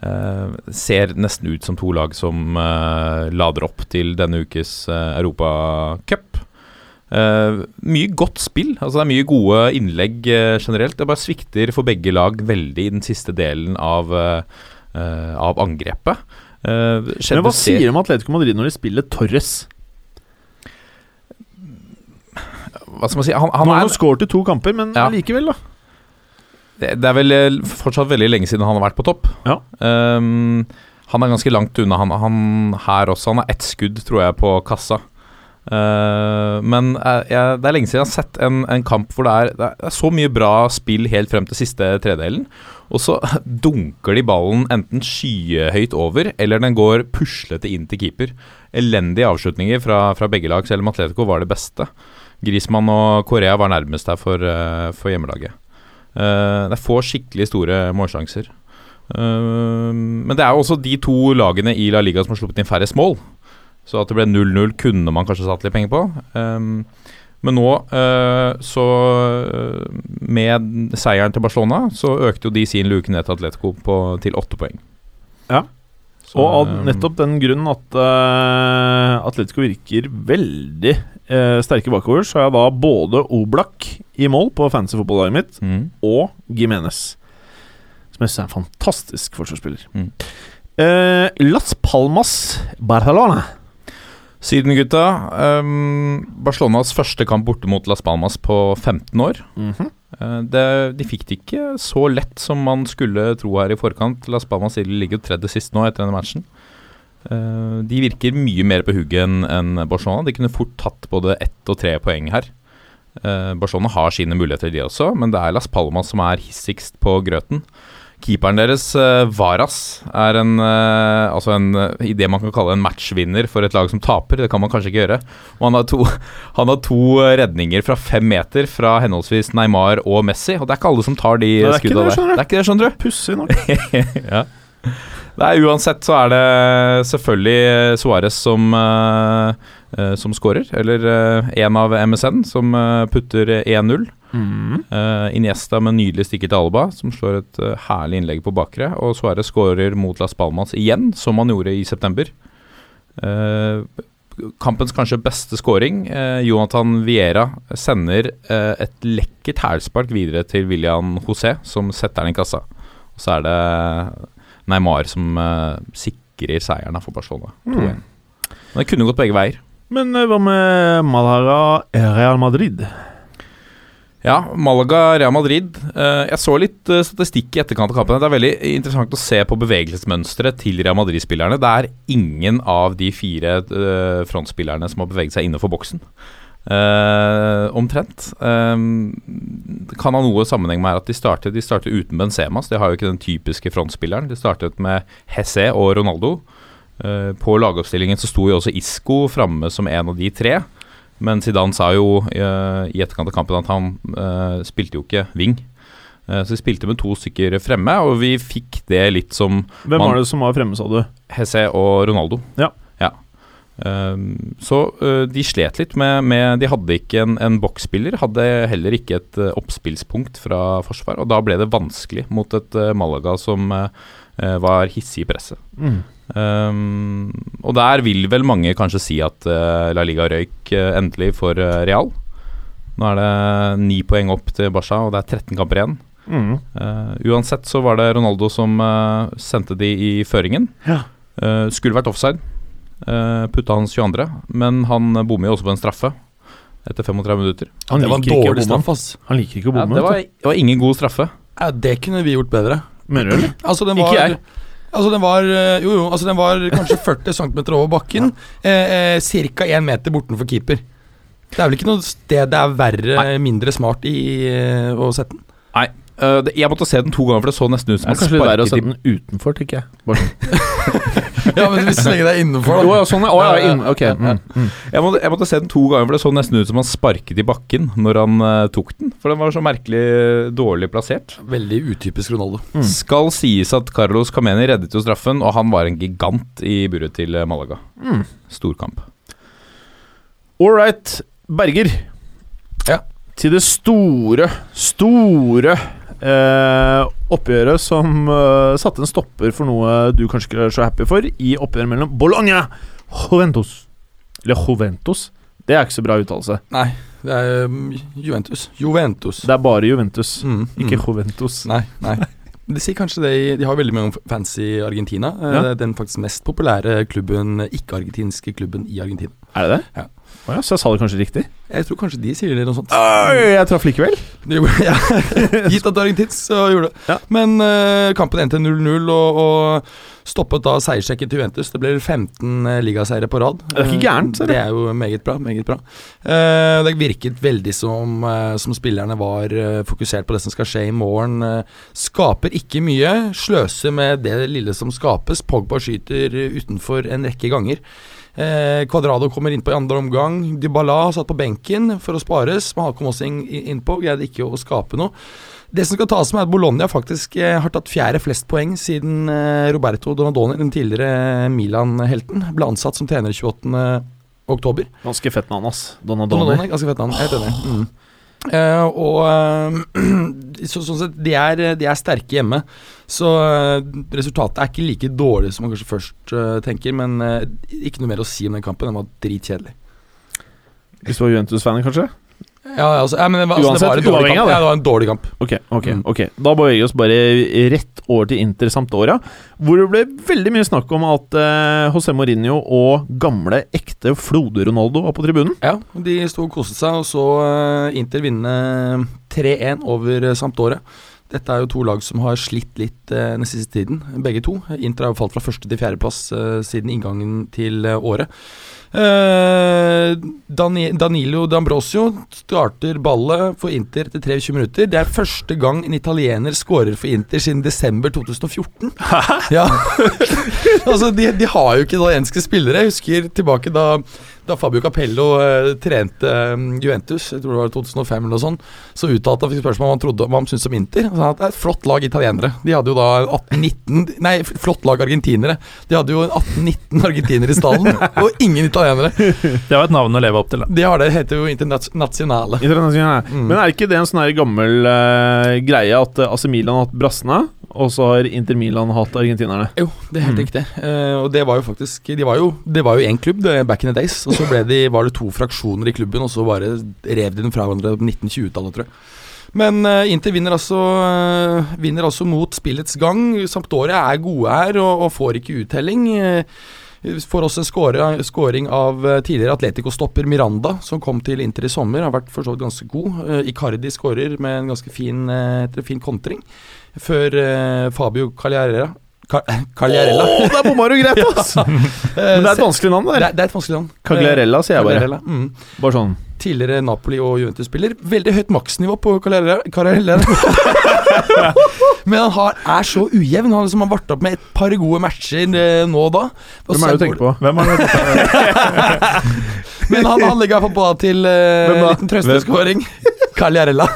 S5: Eh, ser nesten ut som to lag som eh, lader opp til denne ukes uh, Europacup. Eh, mye godt spill. altså Det er mye gode innlegg eh, generelt. Det bare svikter for begge lag veldig i den siste delen av, eh, eh, av angrepet. Eh,
S3: Men hva
S5: skjedde se-
S3: sier de om Atletico Madrid når de spiller Torres?
S5: Hva skal man si? Han,
S3: Han
S5: han
S3: har
S5: er
S3: jo skåret i to kamper, men
S5: Ja.
S3: likevel, da.
S5: Det det er vel eh, fortsatt veldig lenge siden han har vært på topp.
S3: Ja.
S5: Ehm, han er ganske langt unna, han, han her også. Han har ett skudd, tror jeg, på kassa. Eh, men eh, jeg, det er lenge siden jeg har sett en, en kamp hvor det er, det er så mye bra spill helt frem til siste tredelen, og så dunker de ballen enten skyhøyt over, eller den går puslete inn til keeper. Elendige avslutninger fra, fra begge lag, selv om Atletico var det beste. Griezmann og Korea var nærmest her for, eh, for hjemmelaget. Eh, det er få skikkelig store målsjanser. Eh, men det er jo også de to lagene i La Liga som har sluppet inn færrest mål. Så at det ble 0-0 kunne man kanskje satt litt penger på. Eh, men nå, eh, så eh, Med seieren til Barcelona, så økte jo de sin luke ned til Atletico på, til åtte poeng.
S3: Ja.
S5: Så,
S3: Og av
S5: eh,
S3: nettopp den grunnen at eh, Atletico virker veldig eh, sterke bakover, så er da både Oblak i mål på fancy fotballaget mitt,
S5: mm.
S3: og Gimenez. Som jeg synes er en fantastisk forsvarsspiller.
S5: Mm.
S3: Eh, Las Palmas Barcelona.
S5: Syden, gutta. eh, Barcelonas første kamp borte mot Las Palmas på 15 år. Eh, Det, de fikk det ikke så lett som man skulle tro her i forkant. Las Palmas Silje ligger jo tredje sist nå etter denne matchen. Eh, de virker mye mer på hugget enn enn Barcelona. De kunne fort tatt både ett og tre poeng her. Eh, Barcelona har sine muligheter, de også, men det er Las Palmas som er hissigst på grøten. Keeperen deres, eh, Varas, er en, eh, altså en eh, i det man kan kalle en matchvinner for et lag som taper. Det kan man kanskje ikke gjøre. Og han har to, han har to eh, redninger fra fem meter fra henholdsvis Neymar og Messi. Og det er ikke alle som tar de
S3: Nei, det er ikke
S5: skudda
S3: det,
S5: der.
S3: skjønner du.
S5: Det er ikke det, skjønner du.
S3: Pussig nok.
S5: ja. Nei, uansett så er det selvfølgelig Suárez som, eh, eh, som scorer. Eller én av MSN som eh, putter 1-0.
S3: Mhm.
S5: Eh, Iniesta med nydelig stikker til Alba, som slår et eh, herlig innlegg på bakre. Og Suárez skårer mot Las Palmas igjen, som han gjorde i september. Eh, kampens kanskje beste scoring. Eh, Jonathan Viera sender eh, et lekkert hælspark videre til William José, som setter den i kassa. Og så er det Neymar som eh, sikrer seieren her for Barcelona. 2-1. Men det kunne gått begge veier.
S3: Men eh, hva med Malaga Real Madrid?
S5: Ja, Malaga, Real Madrid. Eh, Jeg så litt eh, statistikk i etterkant av kampene. Det er veldig interessant å se på bevegelsesmønsteret til Real Madrid-spillerne. Det er ingen av de fire eh, frontspillerne som har beveget seg innenfor boksen. Eh, omtrent. Eh, det kan ha noe sammenheng med at de startet, de startet uten Benzema, så de har jo ikke den typiske frontspilleren. De startet med Hesse og Ronaldo. Eh, på lagoppstillingen så sto jo også Isco framme som en av de tre. Men Zidane sa jo eh, i etterkant av kampen at han eh, spilte jo ikke wing. Eh, så de spilte med to stykker fremme, og vi fikk det litt som
S4: Hvem
S5: Man-
S4: var det som var fremme, sa du?
S5: Hesse og Ronaldo.
S4: Ja.
S5: Ehm, så eh, de slet litt med, med De hadde ikke en, en boksspiller, hadde heller ikke et eh, oppspillspunkt fra forsvar, og da ble det vanskelig mot et eh, Malaga som eh, eh, var hissig i presset. Ehm, og der vil vel mange kanskje si at eh, La Liga røyk eh, endelig for eh, Real. Nå er det ni poeng opp til Barca, og det er 13 kamper igjen.
S4: Mm.
S5: Eh, uansett så var det Ronaldo som eh, sendte de i føringen.
S4: Ja.
S5: Eh, skulle vært offside, eh, putta hans 22., men han eh, bommer jo også på en straffe etter 35 minutter.
S4: Han,
S6: Det var en
S4: liker ikke å
S6: dårlig
S4: bomme.
S6: straff, ass.
S4: han liker ikke å
S5: Ja,
S4: bomme.
S5: det, var, det var ingen god straffe.
S6: Ja, det kunne vi gjort bedre.
S4: Mener du, eller?
S6: Altså, den var,
S5: Ikke jeg.
S6: Altså, den var eh, Jo, jo, altså, den var kanskje 40 cm over bakken. Eh, eh, Ca. 1 meter bortenfor keeper. Det er vel ikke noe sted det er verre, mindre smart i eh, å sette den.
S5: Eh, det, jeg måtte se den to ganger, for det så nesten ut som
S3: Det er kanskje litt verre å sette den utenfor, tenker jeg. Bare sånn.
S6: Ja, men hvis så lenge det er innenfor,
S3: Å
S6: da.
S3: ja, sånn, ja. Å, ja, inn- ok, mm.
S5: Jeg måtte, jeg måtte se den to ganger, for det så nesten ut som han sparket i bakken når han eh, tok den. For den var så merkelig eh, dårlig plassert.
S6: Veldig utypisk Ronaldo.
S3: Mm.
S5: Skal sies at Carlos Cameni reddet jo straffen, og han var en gigant i buret til eh, Malaga. Storkamp.
S3: Mm. All right, Berger.
S6: Ja.
S3: Til det store, store eh, oppgjøret som eh, satte en stopper for noe du kanskje ikke er så happy for, i oppgjøret mellom Bologna Juventus. Eller Juventus. Det er ikke så bra uttalelse.
S6: Nei, det er eh, Juventus. Juventus.
S3: Det er bare Juventus,
S6: Mm,
S3: ikke
S6: mm.
S3: Juventus.
S6: Nei, nei. De sier kanskje det i- De har veldig mange fans i Argentina. Eh,
S3: Ja.
S6: det er Den faktisk mest populære klubben, ikke-argentinske klubben i Argentina.
S3: Er det det?
S6: Ja.
S3: Å ja, så jeg sa det kanskje riktig.
S6: Jeg tror kanskje de sier det noe sånt.
S3: Oi, jeg traff likevel.
S6: Det gjorde- ja. Gitt at det var en tids, så gjorde det.
S3: Ja.
S6: Men eh, kampen endte 0-0, og, og stoppet da seiersrekken til Juventus. Det blir 15 uh, ligaseiere på rad.
S3: Det er ikke
S6: Eh,
S3: gærent, ser du.
S6: Det er jo meget bra. meget bra. Eh, det virket veldig som, eh, som spillerne var eh, fokusert på det som skal skje i morgen. Eh, skaper ikke mye. Sløser med det lille som skapes. Pogba skyter eh, utenfor en rekke ganger. Eh, Quadrado kommer innpå i andre omgang. Dybala satt på benken for å spares. Men han kom også inn- innpå, greide ikke å skape noe. Det som skal tas med, er at Bologna faktisk eh, har tatt fjerde flest poeng siden eh, Roberto Donadoni, den tidligere Milan-helten, ble ansatt som trener 28. oktober.
S3: Ganske fett navn, ass. Donadoni.
S6: Donadoni, ganske fett navn. Jeg er helt enig. Mm. Eh, og eh, så, sånn sett, de er, de er sterke hjemme. Så eh, resultatet er ikke like dårlig som man kanskje først eh, tenker, men eh, ikke noe mer å si om den kampen. Den var dritkjedelig.
S3: Hvis du var Juventus-fan, kanskje?
S6: Ja, altså, ja, men det var, altså,
S3: Uansett,
S6: det var en dårlig
S3: uavhengig
S6: kamp.
S3: av det.
S6: Ja, det var en dårlig kamp.
S3: Ok, ok,
S6: Mm.
S3: ok. Da beveger vi oss bare rett over til Inter samt åra, hvor det ble veldig mye snakk om at eh, José Mourinho og gamle, ekte Flode-Ronaldo var på tribunen.
S6: Ja, de sto og koste seg, og så eh, Inter vinne 3-1 over eh, Sampdoria. Dette er jo to lag som har slitt litt eh, den siste tiden, begge to. Inter har jo falt fra første til fjerdeplass eh, siden inngangen til eh, året. Eh, Dani Danilo D'Ambrosio starter ballet for Inter etter 23 minutter. Det er første gang en italiener scorer for Inter siden desember 2014. Ja. altså, de, de har jo ikke italienske spillere. Jeg husker tilbake da da Fabio Capello eh, trente eh, Juventus, jeg tror det var 2005 eller noe sånt, så uttalte han fikk spørsmål om han trodde hva han syntes om Inter. Han sa at det er et flott lag italienere. De hadde jo da 18-19 Nei, f- flott lag argentinere. De hadde jo 18-19 argentinere i stallen, og ingen italienere.
S4: Det var et navn å leve opp til. Da.
S6: De har det, heter jo Internasjonale.
S3: Internasjonal.
S6: Mm.
S3: Men er ikke det en sånn her gammel eh, greie at eh, AC Milan har hatt brassene, og så har Inter Milan hatt argentinerne?
S6: Jo, det er helt riktig. Eh, og det var jo faktisk de var jo, Det var jo én klubb det, back in the days, og så ble de, var det to fraksjoner i klubben, og så bare rev de den fra hverandre på 1920-tallet, tror jeg. Men eh, Inter vinner altså, eh, vinner altså mot spillets gang. Sampdoria er gode her og, og får ikke uttelling. Eh, Vi får også en score- scoring av eh, tidligere Atletico-stopper Miranda, som kom til Inter i sommer. Har vært for så vidt ganske god. Eh, Icardi skårer med en ganske fin, eh, etter en fin kontring. Før eh, Fabio Cagliarella Ca- Cagliarella.
S3: Å, der bomma du greit, ass! Men det er et vanskelig navn,
S6: det
S3: eh, der.
S6: er, det er et vanskelig navn. Eh,
S3: Cagliarella, sier jeg bare.
S6: Cagliarella, Mm.
S3: Bare sånn.
S6: Tidligere Napoli- og Juventus-spiller. Veldig høyt maksnivå på Carrera. Men han har, er så ujevn. Han liksom har vart opp med et par gode matcher eh, nå og da. Og
S3: Hvem er det du
S6: så-
S3: tenker på?
S4: Hvem er det?
S6: Men han, han legger i hvert fall balla til eh,
S3: Hvem
S6: en
S3: da?
S6: liten trøsteskåring. Carliarella.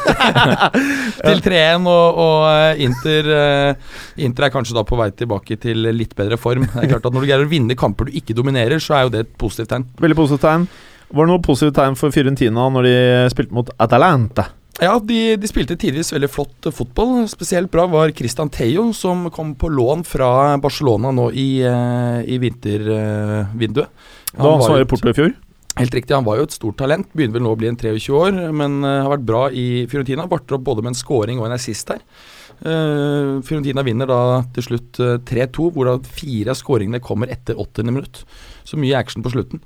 S6: til 3-1, og, og eh, Inter eh, Inter er kanskje da på vei tilbake til litt bedre form. Det er klart at Når du greier å vinne kamper du ikke dominerer, så er jo det et positivt tegn.
S3: Veldig positivt tegn. Var det noe positivt tegn for Fiorentina når de spilte mot Atalanta?
S6: Ja, de, de spilte tidvis veldig flott eh, fotball. Spesielt bra var Christian Theo, som kom på lån fra Barcelona nå i, eh, i vintervinduet.
S3: Da han som var i Porto i fjor?
S6: Helt riktig, han var jo et stort talent. Begynner vel nå å bli en 23 år, men eh, har vært bra i Fiorentina. Varter opp både med en scoring og en assist her. Eh, Fiorentina vinner da til slutt eh, 3-2, hvorav fire av scoringene kommer etter 80. minutt. Så mye action på slutten.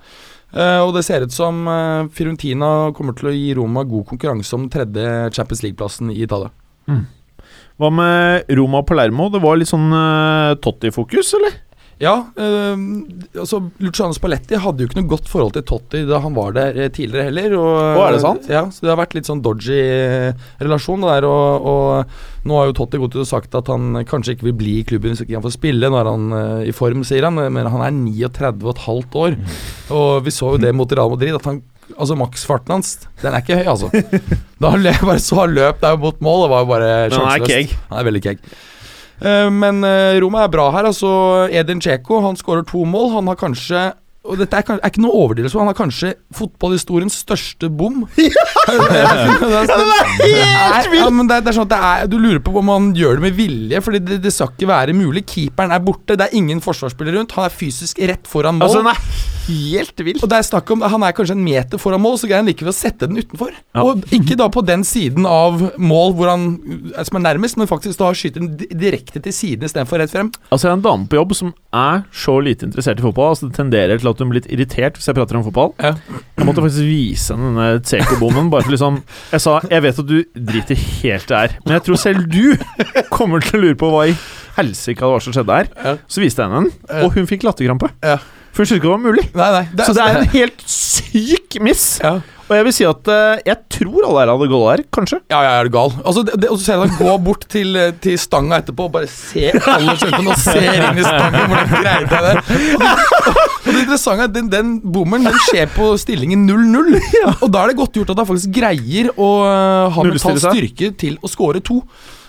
S6: Eh, og det ser ut som eh, Fiorentina kommer til å gi Roma god konkurranse om den tredje Champions League-plassen i Italia.
S3: Hva med Roma og Palermo? Det var litt sånn eh, Totti-fokus, eller?
S6: Ja, eh, altså Luciano Spalletti hadde jo ikke noe godt forhold til Totti da han var der eh, tidligere heller. Og,
S3: Å, er det sant?
S6: Ja, så det har vært litt sånn dodgy eh, relasjon det der. Og, og nå har jo Totti gått ut og sagt at han kanskje ikke vil bli i klubben hvis ikke han får spille. Nå er han eh, i form, sier han, men han er 39 og et halvt år. Og vi så jo det mot Real Madrid, at han Altså maksfarten hans, den er ikke høy, altså. Da han løp, bare så han løp der mot mål, det var jo bare
S3: Men han er
S6: sjanseløst.
S3: keeg.
S6: Han er veldig keeg. Eh, Men eh, Roma er bra her. altså Edin Dzeko han skårer to mål. Han har kanskje og dette er, kan- er ikke noe overdrivelse, men han har kanskje fotballhistoriens største bom. det er helt vilt! Ja, men det, er- det er sånn at det er, du lurer på om han gjør det med vilje, Fordi det, det skal ikke være mulig. Keeperen er borte, det er ingen forsvarsspiller rundt. Han er fysisk rett foran mål.
S3: Altså, den er helt vill.
S6: Og det er snakk om, Han er kanskje en meter foran mål, så greier han likevel å sette den utenfor. Og ikke da på den siden av mål hvor han, eh, som er nærmest, men faktisk da skyter den di- direkte til siden istedenfor rett frem.
S3: Altså, jeg er en dame på jobb som er så lite interessert i fotball. Altså, det tenderer til at hun blir litt irritert hvis jeg prater om fotball.
S6: Ja.
S3: Jeg måtte faktisk vise henne denne Tseko-bommen. Bare for liksom Jeg sa jeg vet at du driter helt i det her, men jeg tror selv du kommer til å lure på hva i helsike det var som skjedde her.
S6: Ja.
S3: Så viste jeg henne den, og hun fikk latterkrampe.
S6: Ja.
S3: For hun syntes ikke det var mulig.
S6: Nei, nei.
S3: Så det er en helt syk miss.
S6: ja.
S3: Og jeg vil si at eh, jeg tror alle her hadde gått der, kanskje.
S6: Ja, ja, er du gal? Altså, det, det, og så ser jeg han gå bort til, eh, til stanga etterpå og bare se alle kjøpene og ser inn i stanga. Hvordan greide jeg det? Og det interessante er at den, den bommeren den skjer på stillingen 0-0. Og da er det godt gjort at han faktisk greier å eh, ha
S3: Nullstille
S6: mental
S3: seg.
S6: styrke til å score to.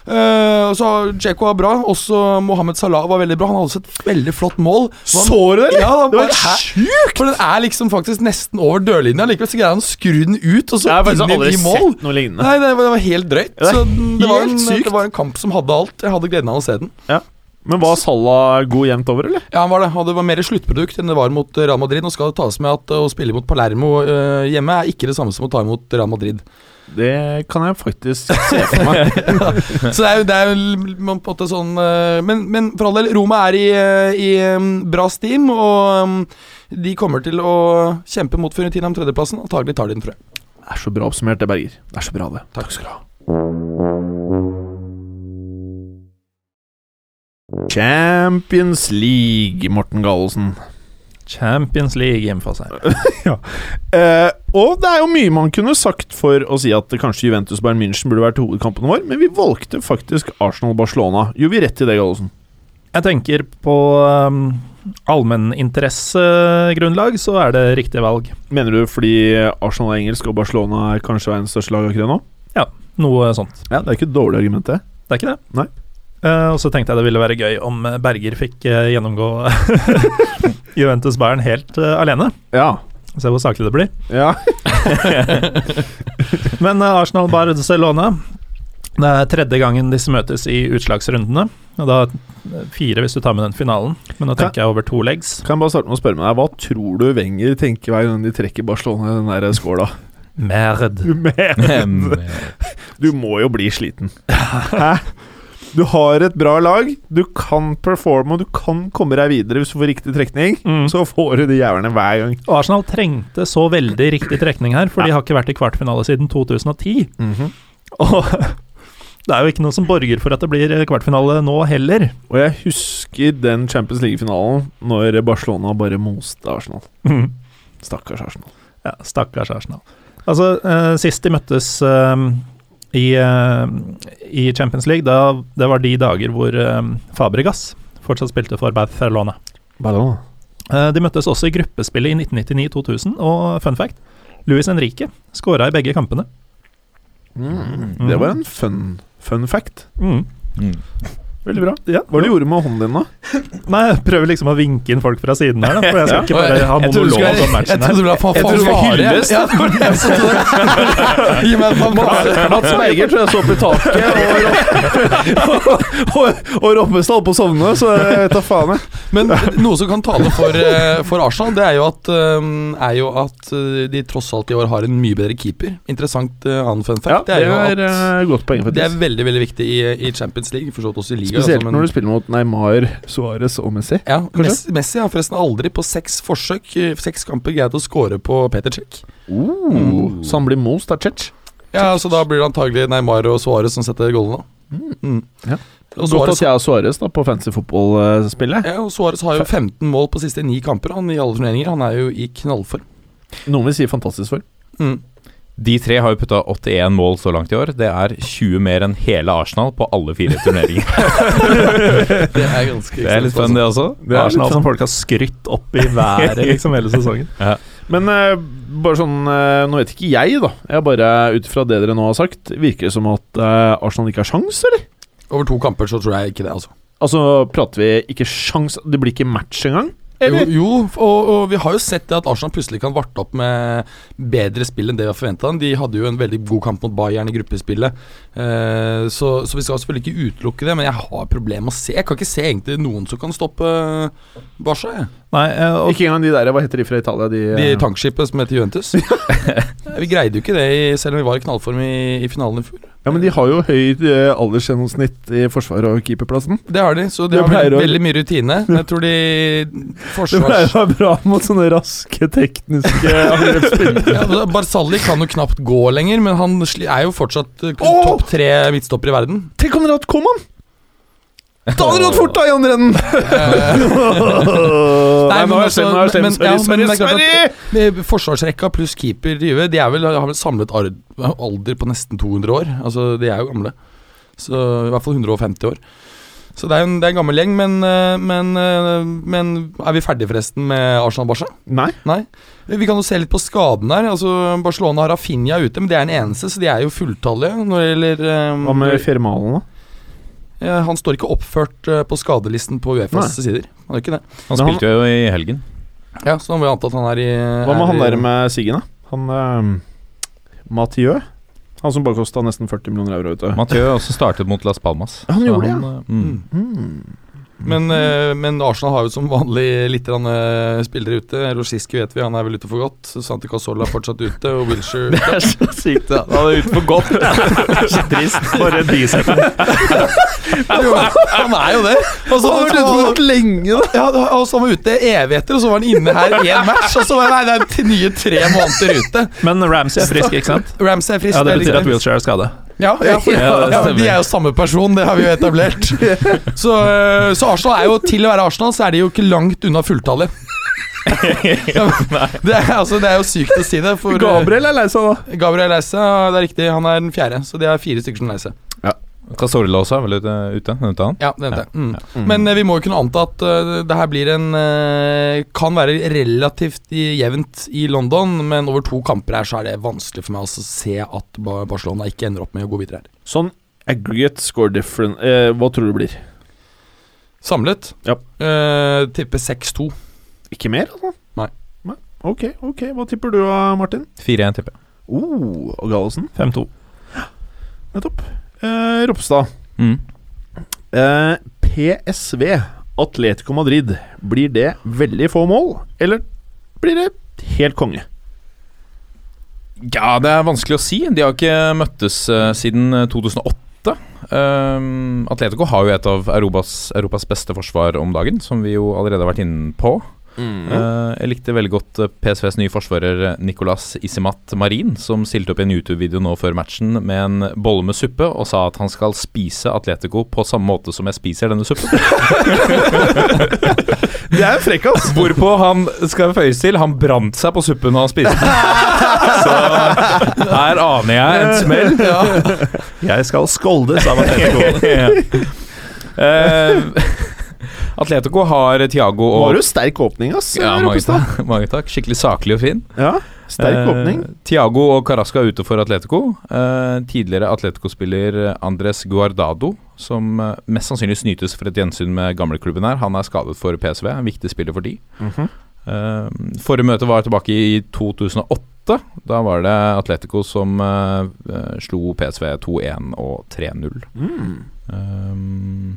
S6: Eh, så Djeko var bra. Også Mohammed Salah var veldig bra. Han hadde også et veldig flott mål. Var-
S3: Så du det, eller?
S6: Ja, han
S3: Det var
S6: bare,
S3: helt
S6: "Hæ?" For den er liksom faktisk nesten over dørlinja. Likevel så greier han å skru den ut, og
S3: Jeg
S6: så
S3: har faktisk
S6: inn
S3: aldri
S6: i mål.
S3: sett noe lignende.
S6: Nei, det var, det var helt drøyt.
S3: Ja, det er
S6: så den, det, var
S3: helt
S6: en,
S3: sykt.
S6: det var en kamp som hadde alt. Jeg hadde gleden av å se den.
S3: Men var Salah god jevnt over, eller?
S6: Ja, han var det. Og det var mer sluttprodukt enn det var mot eh, Real Madrid. Nå skal det tas med at eh, å spille mot Palermo eh, hjemme er ikke det samme som å ta imot Real Madrid.
S3: Det kan jeg faktisk se for meg.
S6: Så det er jo, det er jo l- på en måte sånn eh, men, men for all del, Roma er i, eh, i eh, bra steam, og eh, de kommer til å kjempe mot Fiorentina om tredjeplassen. Antagelig tar de den, tror jeg.
S3: Det er så bra oppsummert, det, Berger. Det er så bra, det. Takk skal du ha. Champions League, Morten Gallosen.
S4: Champions League hjemfase her.
S3: Eh, og det er jo mye man kunne sagt for å si at kanskje Juventus Bayern München burde vært hovedkampen vår, men vi valgte faktisk Arsenal-Barcelona. Gjorde vi rett i det, Gallosen?
S4: Jeg tenker på um, allmenninteressegrunnlag, så er det riktig valg.
S3: Mener du fordi Arsenal er engelsk og Barcelona er kanskje verdens største lag akkurat nå?
S4: Noe sånt.
S3: Ja, Det er ikke et dårlig argument, det.
S4: Det er ikke det?
S3: Nei.
S4: Eh, og så tenkte jeg det ville være gøy om eh, Berger fikk eh, gjennomgå Juventus Bayern helt eh, alene.
S3: Ja.
S4: Se hvor saklig det blir.
S3: ja.
S4: Men eh, Arsenal Barcelona Det er tredje gangen disse møtes i utslagsrundene. Og da eh, fire hvis du tar med den finalen, men nå
S3: Kan-
S4: tenker jeg over to legs.
S3: Kan jeg bare starte med å spørre med deg, hva tror du Wenger tenker hver gang de trekker Barcelona i den der skåla?
S4: Merd.
S3: Du mener
S5: Em,
S3: Du må jo bli sliten. Du har et bra lag, du kan performe, og du kan komme deg videre hvis du får riktig trekning.
S4: Mm.
S3: Så får du de jævlene hver gang.
S4: Og Arsenal trengte så veldig riktig trekning her, for de har ikke vært i kvartfinale siden 2010.
S3: Mhm.
S4: Og det er jo ikke noe som borger for at det blir eh, kvartfinale nå heller.
S3: Og jeg husker den Champions League-finalen når Barcelona bare moste Arsenal.
S4: Mm.
S3: Stakkars Arsenal.
S4: Ja, stakkars Arsenal. Altså, eh, sist de møttes eh, i, eh, i Champions League, da, det var de dager hvor eh, Fabregas fortsatt spilte for Barcelona.
S3: Barcelona.
S4: Eh, de møttes også i gruppespillet i 1999-2000, og fun fact Luis Henrique skåra i begge kampene.
S3: Mm. Det var en fun, fun fact.
S5: Mm.
S3: Veldig bra.
S4: Ja.
S3: Hva er det du gjorde med hånden din, da?
S4: Nei, jeg prøver liksom å vinke inn folk fra siden her, da, for jeg skal ikke bare ha
S6: Jeg trodde du
S4: monolog om
S6: skulle- jeg
S4: matchen
S6: trodde
S4: her.
S6: du ville ha faen
S3: Jeg trodde du skulle
S6: fanfare.
S3: hylles.
S6: Ja, det var det jeg også trodde. Gi meg en fanfare.
S3: Mats Berger tror jeg så opp i taket, og, og, og Roppestad holdt på å sovne, så jeg vet da faen. jeg.
S6: Men noe som kan tale for, eh, for Arsenal, det er jo at, eh, er jo at eh, de tross alt i år har en mye bedre keeper. Interessant eh, annen fun fact.
S3: det
S6: jo at
S3: er eh, godt poeng,
S6: det er
S3: faktisk.
S6: veldig veldig viktig i, i Champions League, for så vidt også i ligaen. altså,
S3: Spesielt når du spiller mot Neymar, Suárez og Messi.
S6: ja, Messi, Messi har forresten aldri på seks forsøk, eh, seks kamper, greid å score på Peter Cech.
S3: Mm. Så han blir most av Chech.
S6: Ja, så da blir det antagelig Neymar og Suárez som setter gollene. Mm.
S3: Ja.
S6: Og
S3: Godt at
S6: Suárez
S3: jeg har Suárez da, på eh, fancy fotballspillet.
S6: ja, og Suárez har jo 15 mål på siste ni kamper han i alle turneringer. Han er jo i knallform.
S3: Noen vil si fantastisk form.
S6: Mm.
S5: De tre har jo putta 81 mål så langt i år. Det er 20 mer enn hele Arsenal på alle fire turneringer.
S6: Det er ganske
S5: Det er litt fun, det også.
S3: er litt
S4: Arsenal som folk har skrytt opp i været liksom hele sesongen.
S3: Men eh, bare sånn eh, Nå vet ikke jeg, da. Jeg bare Ut fra det dere nå har sagt, virker det som at eh, Arsenal ikke har sjans, eller?
S6: altså. Over to kamper så tror jeg ikke det, altså.
S3: Altså, prater vi ikke sjans Det blir ikke match engang?
S6: Jo,
S3: Eller?
S6: jo og, og vi har jo sett det at Arsenal plutselig kan varte opp med bedre spill enn det vi har forventa. De hadde jo en veldig god kamp mot Bayern i gruppespillet, eh, så, så vi skal selvfølgelig ikke utelukke det. Men jeg har problemer med å se. Jeg kan ikke se egentlig noen som kan stoppe eh, Barca. jeg.
S4: Nei, eh, og
S3: Ikke engang de der Hva heter de fra Italia? De,
S6: De
S3: eh,
S6: tankskipet som heter Juventus. vi greide jo ikke det, i- selv om vi var i knallform i, i finalen i fjor.
S3: Ja, men de har jo høy eh, aldersgjennomsnitt i forsvaret og keeperplassen.
S6: Det har de, så de
S3: Det
S6: har vel
S3: pleier å-
S6: veldig mye rutine. Jeg tror de
S3: Det
S6: forsvars...
S3: pleier å være bra mot sånne raske tekniske angrepsspillere.
S6: Ja, altså, Barzali kan jo knapt gå lenger, men han sli- er jo fortsatt eh,
S3: Åh!
S6: topp tre midtstopper i verden.
S3: Tenk om dere hadde hatt Koman! Da hadde dere hatt fort, da, i andre enden!
S6: Eh,
S3: Nei, nå har jeg
S6: altså,
S3: skjønt, nå har jeg
S6: men-
S3: skjønt. Sorry,
S6: ja, men det
S3: sorry,
S6: er klart
S3: sorry!
S6: at, eh, Forsvarsrekka pluss keeper i Juve, de er vel, har vel samlet ar- alder på nesten 200 år. Altså, De er jo gamle. Så I hvert fall 150 år. Så det er en, det er en gammel gjeng, men, eh, men, eh, men er vi ferdige forresten med Arsenal-Barca?
S3: Nei.
S6: Nei. Vi kan jo se litt på skaden her. Altså, Barcelona har Rafinha ute, men det er den eneste, så de er jo fulltallige når det gjelder eh,
S3: Hva med Firmalen, da?
S6: Ja, Han står ikke oppført eh, på skadelisten på Uefas sider. Han gjør ikke det.
S5: Han
S3: Men han-
S5: spilte jo i helgen.
S6: Ja, Så da må vi anta at han er i
S5: Eh,
S3: Hva med
S6: er i-
S3: han der med Siggen, da? Han eh, Mathieu? Han som bare kosta nesten 40 millioner euro, vet du.
S5: Mathieu også startet mot Las Palmas.
S3: Han
S5: Så
S3: gjorde det,
S5: han, eh, mm.
S6: Mm.
S3: Hmm.
S6: Men, eh, men Arsenal har jo som vanlig litt grann, eh, spillere ute. Roshiski vet vi, han er vel ute for godt. Santi Casola er fortsatt ute, og Wilshere
S5: Det er så sykt, da. Han er ute for godt.
S4: bare bicep.
S6: Jo, Han er jo det! Altså, Og så
S3: Han har vært ute for godt
S6: lenge, da. Ja, da- og så var han ute evigheter, og så var han inne her én match, og så var han, nei, det er til nye tre måneder ute.
S4: Men Ramsey er frisk, ikke sant?
S6: Ramsay er frisk.
S4: Ja, Det
S6: er
S4: betyr
S6: riktig.
S4: at Wilshere er skada.
S6: Ja, ja, for,
S5: Ja, det
S6: ja, men
S5: stemmer.
S6: de er jo samme person, det har vi jo etablert. Så, øh, så Arsenal er jo til å være Arsenal, så er de jo ikke langt unna fulltallet. Ja, men det, er, altså, det er jo sykt å si det. For, øh,
S3: Gabriel er lei seg, da.
S6: Gabriel er lei seg, ja, det er riktig. Han er den fjerde, så det er fire stykker som er lei seg.
S3: Mm.
S5: Casorla også er vel ute? ute nevnte han.
S6: Ja, det vet jeg. mm. Men
S3: eh,
S6: øh, vi må jo kunne anta at øh, det her blir en øh, Kan være relativt i- jevnt i London, men over to kamper her så er det vanskelig for meg også å se at Ba- Barcelona ikke ender opp med å gå videre her.
S3: Sånn aggregate score different eh, Hva tror du det blir?
S6: Samlet
S3: Ja.
S6: øh, tipper 6-2.
S3: Ikke mer, altså?
S6: Nei.
S3: Nei. Ok, ok. Hva tipper du da, Martin?
S5: 4-1, tipper jeg.
S3: Oh, og Gallosen?
S4: 5-2.
S3: Nettopp. Eh, Ropstad.
S5: Mm.
S3: Eh, PSV, Atletico Madrid. Blir det veldig få mål, eller blir det helt konge?
S5: Ja, det er vanskelig å si. De har ikke møttes eh, siden eh, 2008. Ehm, Atletico har jo et av Europas, Europas beste forsvar om dagen, som vi jo allerede har vært inne på.
S3: Mm.
S5: Eh, jeg likte veldig godt eh, PSVs nye forsvarer eh, Nicolas Isimat Marin, som stilte opp i en YouTube-video nå før matchen med en bolle med suppe og sa at han skal spise Atletico på samme måte som jeg spiser denne suppen.
S3: Det er frekkas!
S5: Hvorpå han skal føyes til han brant seg på suppen han spiste den. Så her aner jeg en smell.
S3: Jeg skal skoldes av Atletico.
S5: Eh, Atletico har Tiago
S3: Nå
S5: og
S3: har du sterk åpning, ass.
S5: ja, mange,
S3: Ropestad.
S5: takk, mange takk. Skikkelig saklig og fin.
S3: ja, sterk
S5: Eh,
S3: åpning.
S5: Thiago og Carasca er ute for Atletico. Eh, tidligere Atletico-spiller Andres Guardado, som eh, mest sannsynlig snytes for et gjensyn med gamleklubben her, han er skadet for PSV. En viktig spiller for de.
S3: mhm.
S5: Eh, forrige møte var tilbake i 2008. Da var det Atletico som eh, eh, slo PSV 2-1 og 3-0.
S3: Mm.
S5: Um,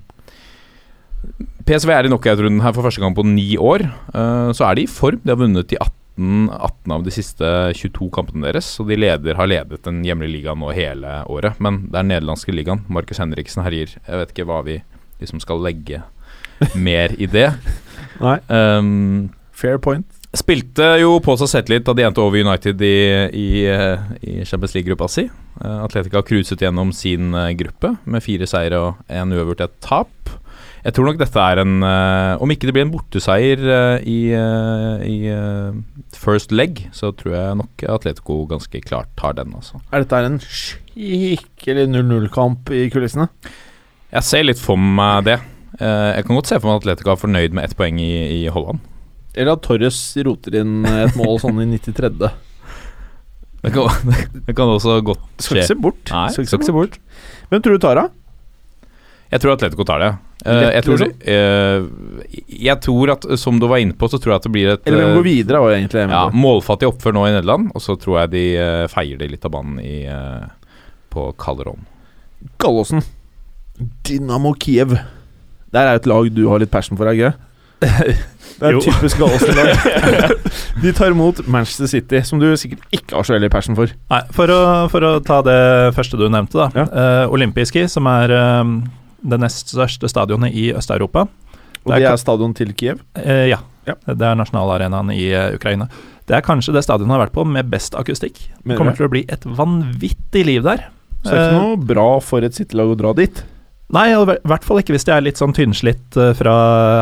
S5: PSV er i knockout-runden her for første gang på ni år. Eh, så er de i form. De har vunnet i 18, 18 av de siste 22 kampene deres. Og de leder, har ledet den hjemlige ligaen nå hele året. Men det er den nederlandske ligaen. Markus Henriksen herjer. Jeg vet ikke hva vi liksom skal legge mer i det.
S3: Nei.
S5: Um,
S3: Fair point.
S5: Spilte jo på seg selvtillit da de endte over United i, i, eh, i Champions League-gruppa si. Eh, Atletica har cruiset gjennom sin eh, gruppe med fire seire og en uavgjort et tap. Jeg tror nok dette er en eh, Om ikke det blir en borteseier eh, i, eh, i eh, first leg, så tror jeg nok Atletico ganske klart tar den, altså.
S3: Er dette her en skikkelig 0-0-kamp i kulissene?
S5: Jeg ser litt for meg det. Eh, Jeg kan godt se for meg at Atletica er fornøyd med ett poeng i, i Holland.
S3: Eller at Torres roter inn et mål sånn i 93.
S5: Det kan, det kan også godt
S3: Skal
S5: skje.
S3: ikke se bort.
S5: Nei,
S3: Skal
S5: skal ikke se bort.
S3: Hvem tror du tar, da?
S5: Jeg tror Atletico tar det. Eh,
S3: Lett,
S5: jeg, tror,
S3: liksom?
S5: eh, jeg tror at, som du var inne på, så tror jeg at det blir et
S3: Eller hvem går
S5: eh,
S3: videre, var egentlig det jeg
S5: ja,
S3: mente.
S5: målfattig oppfør nå i Nederland. Og så tror jeg de eh, feier det litt av banen i, eh, på Calderón.
S3: Gallosen. Dynamo Kiev. Der er et lag du har litt passion for, er det ikke? Det er
S4: Jo.
S3: et typisk Gallosen-lag. De tar imot Manchester City, som du sikkert ikke har så veldig passion for.
S4: Nei, for å, for å ta det første du nevnte, da. Eh, Olympiski, som er eh, det nest største stadionet i Øst-Europa.
S3: Og
S4: Det er
S3: det
S4: ka-
S3: er stadion til Kiev.
S4: Eh, ja.
S3: Ja.
S4: Det er nasjonalarenaen i eh, Ukraina. Det er kanskje det stadionet jeg har vært på med best akustikk. Det
S3: Mener
S4: kommer
S3: du?
S4: til å bli et vanvittig liv der.
S3: Så det er ikke noe bra for et City-lag å dra dit.
S4: Nei, i hvert fall ikke hvis de er litt sånn tynnslitt eh, fra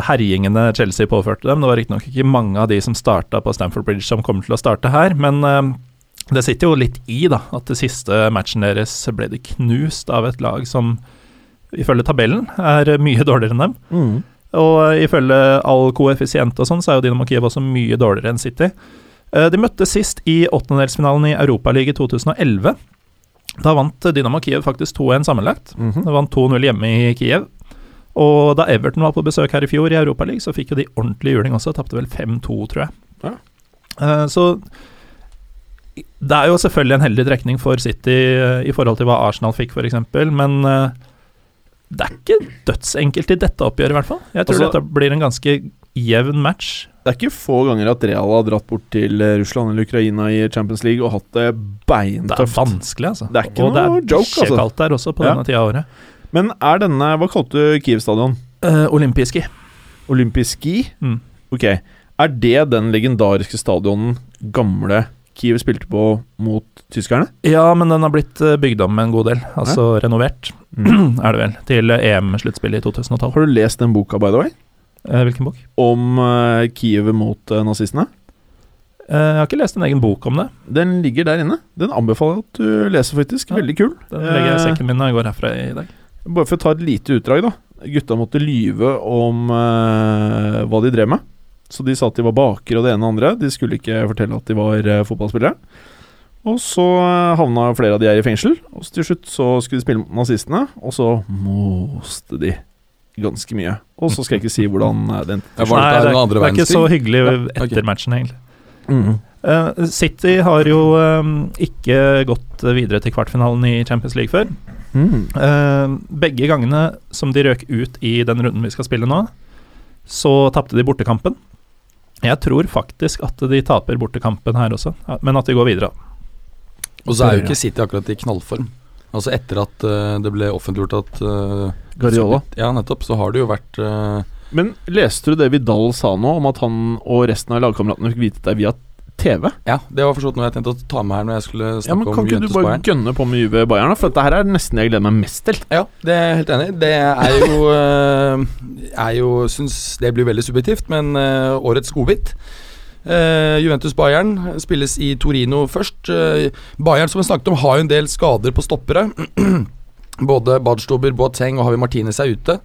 S4: herjingene Chelsea påførte dem. Det var riktignok ikke mange av de som starta på Stamford Bridge som kommer til å starte her, men eh, det sitter jo litt i da, at det siste matchen deres ble de knust av et lag som ifølge tabellen er mye dårligere enn dem.
S3: Mm.
S4: Og eh, ifølge all koeffisient og sånn, så er jo Dinamo Kiev også mye dårligere enn City. Eh, De møttes sist i åttendedelsfinalen i Europaligaen 2011. Da vant Dinamo Kiev faktisk 2-1 sammenlagt.
S3: Mhm.
S4: De vant 2-0 hjemme i Kiev. Og da Everton var på besøk her i fjor i Europaligaen, så fikk jo de ordentlig juling også. Tapte vel 5-2, tror jeg.
S3: Ja.
S4: Eh, Så det er jo selvfølgelig en heldig trekning for City eh, i forhold til hva Arsenal fikk, f.eks., men eh, det er ikke dødsenkelt i dette oppgjøret, i hvert fall. Jeg tror
S3: Altså-
S4: dette blir en ganske jevn match.
S3: Det er ikke få ganger at Real har dratt bort til eh, Russland eller Ukraina i Champions League og hatt det
S4: Det er
S3: beintøft.
S4: vanskelig, altså.
S3: Det er ikke noe
S4: og det er
S3: joke, altså.
S4: kaldt der også på
S3: Ja.
S4: denne tida av året.
S3: Men er denne Hva kalte du Kiev stadion?
S4: Eh, olympiske.
S3: Olympiski?
S4: Mm.
S3: Ok. Er det den legendariske stadionen gamle Kiev spilte på mot tyskerne?
S4: Ja, men den har blitt eh, bygd om en god del. Altså renovert, er det vel. Til eh, EM-sluttspillet i 2012.
S3: Har du lest den boka, by the way?
S4: Eh, hvilken bok?
S3: Om eh, Kiev mot eh, nazistene?
S4: Eh, jeg har ikke lest en egen bok om det.
S3: Den ligger der inne. Den anbefaler jeg at du leser, faktisk.
S4: Ja.
S3: Veldig kul.
S4: Den legger jeg i
S3: Eh,
S4: sekken min når jeg går herfra i dag.
S3: Bare for å ta et lite utdrag, da. Gutta måtte lyve om eh, hva de drev med. Så de sa at de var bakere og det ene og det andre. De skulle ikke fortelle at de var eh, fotballspillere. Og så eh, havna flere av de her i fengsel. Og så til slutt så skulle de spille mot nazistene, og så moste de ganske mye. Og så skal jeg ikke si hvordan eh, det endte.
S6: Ja, var
S4: Nei,
S6: det,
S4: det,
S6: der
S4: er,
S6: under
S4: det er
S6: andre
S4: ikke så
S6: verdenskrig?
S4: hyggelig
S6: Ja, ok.
S4: etter matchen, egentlig.
S3: Mm.
S4: Eh, City har jo eh, ikke gått videre til kvartfinalen i Champions League før.
S3: Mm.
S4: Eh, begge gangene som de røk ut i den runden vi skal spille nå, så tapte de bortekampen. Jeg tror faktisk at de taper bortekampen her også, ja, men at de går videre.
S6: Og så er jo ikke City akkurat i knallform. Altså etter at eh, det ble offentliggjort at eh,
S3: Guardiola.
S6: Ja, nettopp. Så har det jo vært eh,
S3: Men leste du det Vidal sa nå, om at han og resten av lagkameratene fikk vite det via TV?
S6: Ja, det var forstått noe jeg tenkte å ta med her når jeg skulle
S3: Ja, men
S6: snakke
S3: Kan
S6: om
S3: ikke du
S6: Juventus
S3: bare
S6: Bayern.
S3: gønne på med Juve Bayern, da? For dette her er nesten det jeg gleder meg mest til.
S6: Ja, det er jeg helt enig. i. Det er jo, eh, er jo Syns det blir veldig subjektivt, men eh, årets godbit. Eh, Juventus Bayern spilles i Torino først. Eh, Bayern som vi snakket om har jo en del skader på stoppere. Både Badstober, Boateng og Havi Martinez er ute.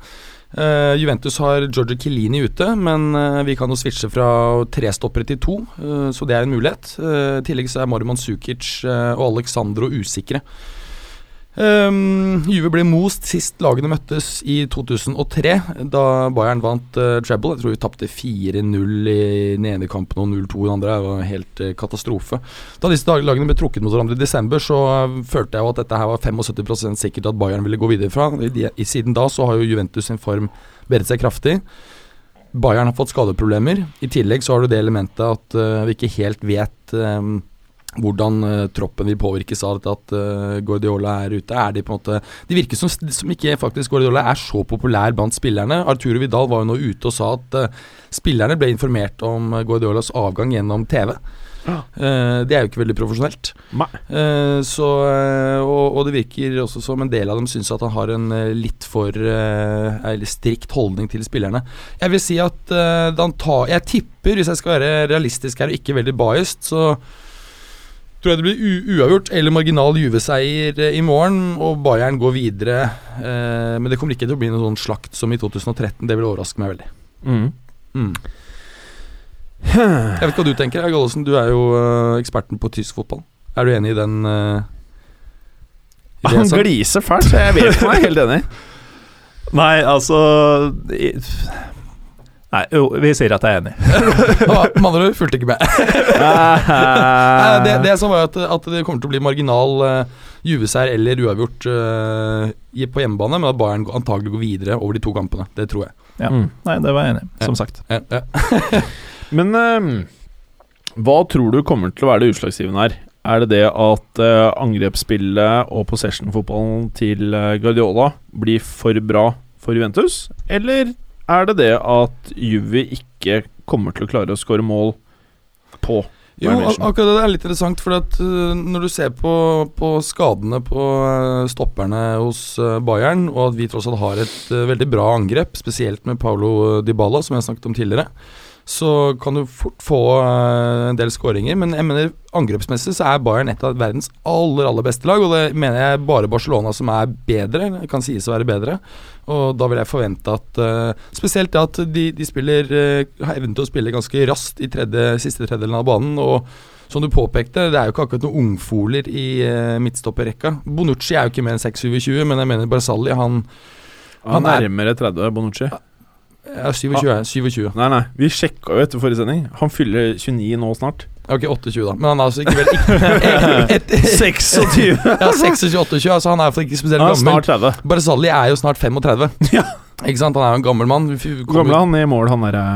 S6: Eh, Juventus har Giorgio Chiellini ute, men eh, vi kan jo switche fra tre stoppere til to, eh, så det er en mulighet. Eh, I tillegg så er Marman Sukic eh, og Alexandro usikre. Ehm, Juve ble most sist lagene møttes i 2003, da Bayern vant uh, treble. Jeg tror vi tapte 4-0 i den ene kampen og 0-2 i den andre. Det var en helt eh, katastrofe. Da disse dag- lagene ble trukket mot hverandre i desember, så eh, følte jeg jo at dette her var 75 sikkert at Bayern ville gå videre fra. I, de- i, siden da så har jo Juventus sin form bedret seg kraftig. Bayern har fått skadeproblemer. I tillegg så har du det elementet at eh, vi ikke helt vet eh, hvordan eh, troppen vil påvirkes av dette at eh, Guardiola er ute. Er de på en måte De virker som, som ikke faktisk Guardiola er så populær blant spillerne. Arturo Vidal var jo nå ute og sa at eh, spillerne ble informert om eh, Guardiolas avgang gjennom TV.
S3: Ja.
S6: Eh, det er jo ikke veldig profesjonelt.
S3: Nei.
S6: Eh, så, eh, og, og det virker også som en del av dem syns at han har en eh, litt for eh, eller strikt holdning til spillerne. Jeg vil si at eh, da han tar Jeg tipper, hvis jeg skal være realistisk her og ikke veldig biased, så tror jeg det blir u uavgjort eller marginal Juve-seier eh, i morgen, og Bayern går videre. Eh, men det kommer ikke til å bli noen sånn slakt som i 2013. Det vil overraske meg veldig.
S3: Mm.
S6: Jeg vet ikke hva du tenker, Geir Gallosen. Du er jo eh, eksperten på tysk fotball. Er du enig i den eh, i det jeg
S3: Han
S6: sa?
S3: gliser fælt, så jeg vet ikke om jeg er helt enig.
S4: Nei, altså i- Nei, jo, vi sier at jeg er enig.
S6: Ah, Med andre ord, fulgte ikke med. Nei, det, det som var at, at det kommer til å bli marginal eh, Juve-seier eller uavgjort eh, i- på hjemmebane, men at Bayern går- antagelig går videre over de to kampene. Det tror jeg.
S4: Ja.
S3: Mm.
S4: Nei, det var jeg enig i, som sagt.
S6: Ja, ja.
S3: Men ehm, hva tror du kommer til å være det utslagsgivende her? Er det det at eh, angrepsspillet og possession-fotballen til eh, Guardiola blir for bra for Juventus? Eller er det det at Juve ikke kommer til å klare å skåre mål på
S6: Jo,
S3: Bayern
S6: ak
S3: München?
S6: akkurat det er litt interessant, for at øh, når du ser på, på skadene på øh, stopperne hos øh, Bayern, og at vi tross alt har et øh, veldig bra angrep, spesielt med Paulo eh, Dybala, som jeg snakket om tidligere, så kan du fort få øh, en del skåringer. Men jeg mener angrepsmessig så er Bayern et av verdens aller, aller beste lag, og det mener jeg bare Barcelona som er bedre, eller kan sies å være bedre. Og da vil jeg forvente at eh, Spesielt det at de, de spiller eh, har evnen til å spille ganske raskt i tredje, siste tredjedelen av banen. Og som du påpekte, det er jo ikke akkurat noen ungfoler i eh, midtstopperrekka. Bonucci er jo ikke mer enn 6-27, men jeg mener Barzali han
S3: Han
S6: Han
S3: er
S6: er-
S3: nærmere 30, Bonucci.
S6: er 27.
S3: Ah.
S6: er- 27.
S3: Nei, nei, vi sjekka jo etter forrige sending. Han fyller 29 nå snart.
S6: Ok, 28, da. Men han er altså ikke vel ikke, et, et,
S3: 26!
S6: ja, 26-28, altså han er iallfall ikke spesielt
S3: Han er
S6: gammel.
S3: snart 30.
S6: Barzali er jo snart 35.
S3: Ja.
S6: Ikke sant? Han er jo en gammel mann. Vi f-
S3: Hvor gammel
S6: kommer-
S3: er han i mål, han derre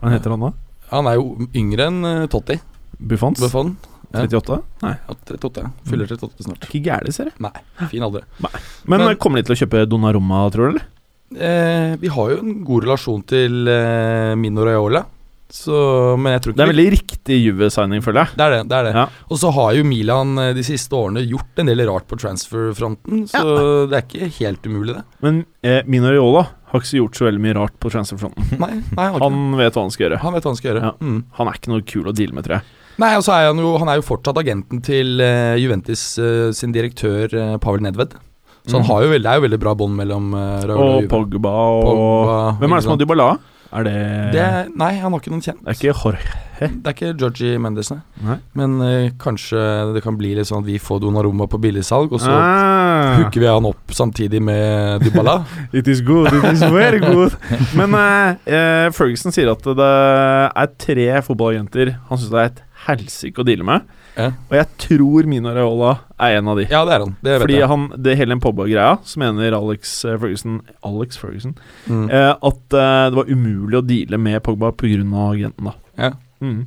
S3: Hva heter han da?
S6: Han er jo yngre enn eh, Totti.
S3: Buffons?
S6: Buffon.
S3: 38? Nei.
S6: Ja, 38.
S3: Mm.
S6: Fyller 38 snart.
S3: Ikke gæren, ser jeg.
S6: Fin alder.
S3: Men, eh,
S6: Men-
S3: kommer de til å kjøpe Donnarumma, tror du? eller?
S6: Eh, vi har jo en god relasjon til eh, Mino Raiola, så Men jeg tror
S3: Det
S6: ikke
S3: er veldig riktig Juve-signing, føler jeg.
S6: det er det. det, er det.
S3: Ja.
S6: Og så har jo Milan eh, de siste årene gjort en del rart på transferfronten, så det er ikke helt umulig, det.
S3: Men eh, Minoriola har ikke så gjort så veldig mye rart på transferfronten.
S6: Nei, nei han, har ikke det.
S3: Han vet hva han skal gjøre.
S6: han vet hva han skal gjøre.
S3: Ja.
S6: Mm.
S3: Han er ikke noe kul å deale med, tror jeg.
S6: Nei, og så er han jo, han er jo fortsatt agenten til eh, Juventus eh, sin direktør eh, Pavel Nedved. Så han
S3: Mm.
S6: har jo veldig, det er jo veldig bra bånd mellom eh, Raiola og
S3: Og
S6: Juve.
S3: Pogba og Hvem er det som har Dybala? Er det
S6: det? Nei, han har ikke noen kjent.
S3: Det er ikke Jorge.
S6: Det er ikke Georgie Mendes, nei.
S3: Nei.
S6: Men eh, kanskje det kan bli litt sånn at vi får Donnarumma på billigsalg, og så
S3: Ah,
S6: hooker vi han opp samtidig med Dybala.
S3: it is good, it is very good. Men eh, eh, Ferguson sier at det er tre fotballagenter han syns det er et helsike å deale med.
S6: Ja.
S3: Og jeg tror Minoriola er en av de.
S6: ja, det er han. Det vet
S3: Fordi
S6: jeg.
S3: han, det hele den Pogba-greia, så mener Alex eh, Ferguson Alex Ferguson
S6: Mm.
S3: eh, at eh, det var umulig å deale med Pogba pga. agenten, da.
S6: Ja.
S3: Mm.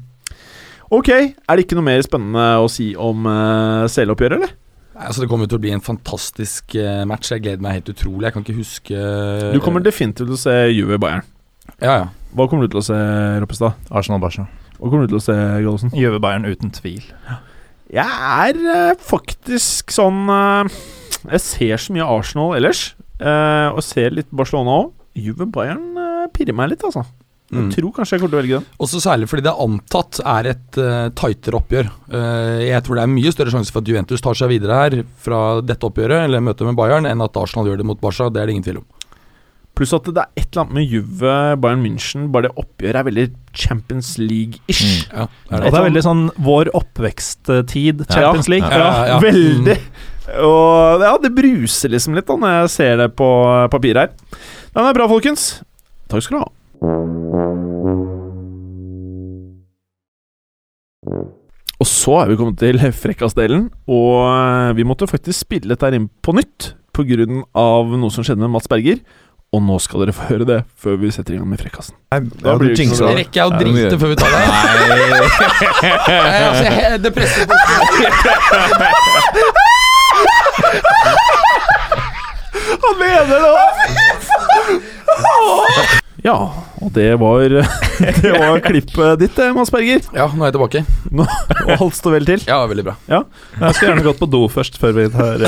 S3: Ok, er det ikke noe mer spennende å si om eh, seloppgjøret, eller?
S6: Nei, Altså Det kommer til å bli en fantastisk eh, match. Jeg gleder meg helt utrolig. Jeg kan ikke huske eh,
S3: Du kommer definitivt til å se Juve Bayern.
S6: Ja, ja.
S3: Hva kommer du til å se, Roppestad?
S5: Arsenal-Barca.
S3: Hva kommer du til å se, Gallosen?
S4: Gjøve Bayern uten tvil.
S3: Jeg er eh, faktisk sånn eh, Jeg ser så mye Arsenal ellers, eh, og ser litt Barcelona òg. Juve Bayern eh, pirrer meg litt, altså.
S6: Mm.
S3: Jeg tror kanskje jeg kommer til å velge den.
S6: Også særlig fordi det er antatt er et eh, tightere oppgjør. Eh, jeg tror det er mye større sjanse for at Juventus tar seg videre her fra dette oppgjøret, eller møtet med Bayern, enn at Arsenal gjør det mot Barca. Det er det ingen tvil om.
S3: Pluss at det er et eller annet med Juve Bayern München, bare det oppgjøret er veldig Champions League-ish.
S6: Ja, det er
S4: Mm. Og
S6: det.
S4: det er veldig sånn vår oppveksttid, Champions League.
S6: Ja, ja, ja.
S3: Veldig. Og ja, det bruser liksom litt da når jeg ser det på eh, papir her. Den er bra, folkens. Takk skal du ha. Og så er vi kommet til frekkasdelen, og eh, vi måtte faktisk spille dette her inn på nytt pga. noe som skjedde med Mats Berger. Og nå skal dere få høre det før vi setter i gang med frekkasen. Da blir det ikke så
S6: Det
S3: bra.
S6: rekker jeg å
S5: Ja, det må vi
S6: drite
S5: gjøre.
S6: før vi tar det. Nei, altså, jeg- det presser på.
S3: Han mener det! Ja, og det var Det var klippet ditt, eh, Mads Berger.
S6: Ja, nå er jeg tilbake.
S3: Og alt står vel til.
S6: Ja, veldig bra.
S4: Jeg skulle gjerne gått på do først før vi tar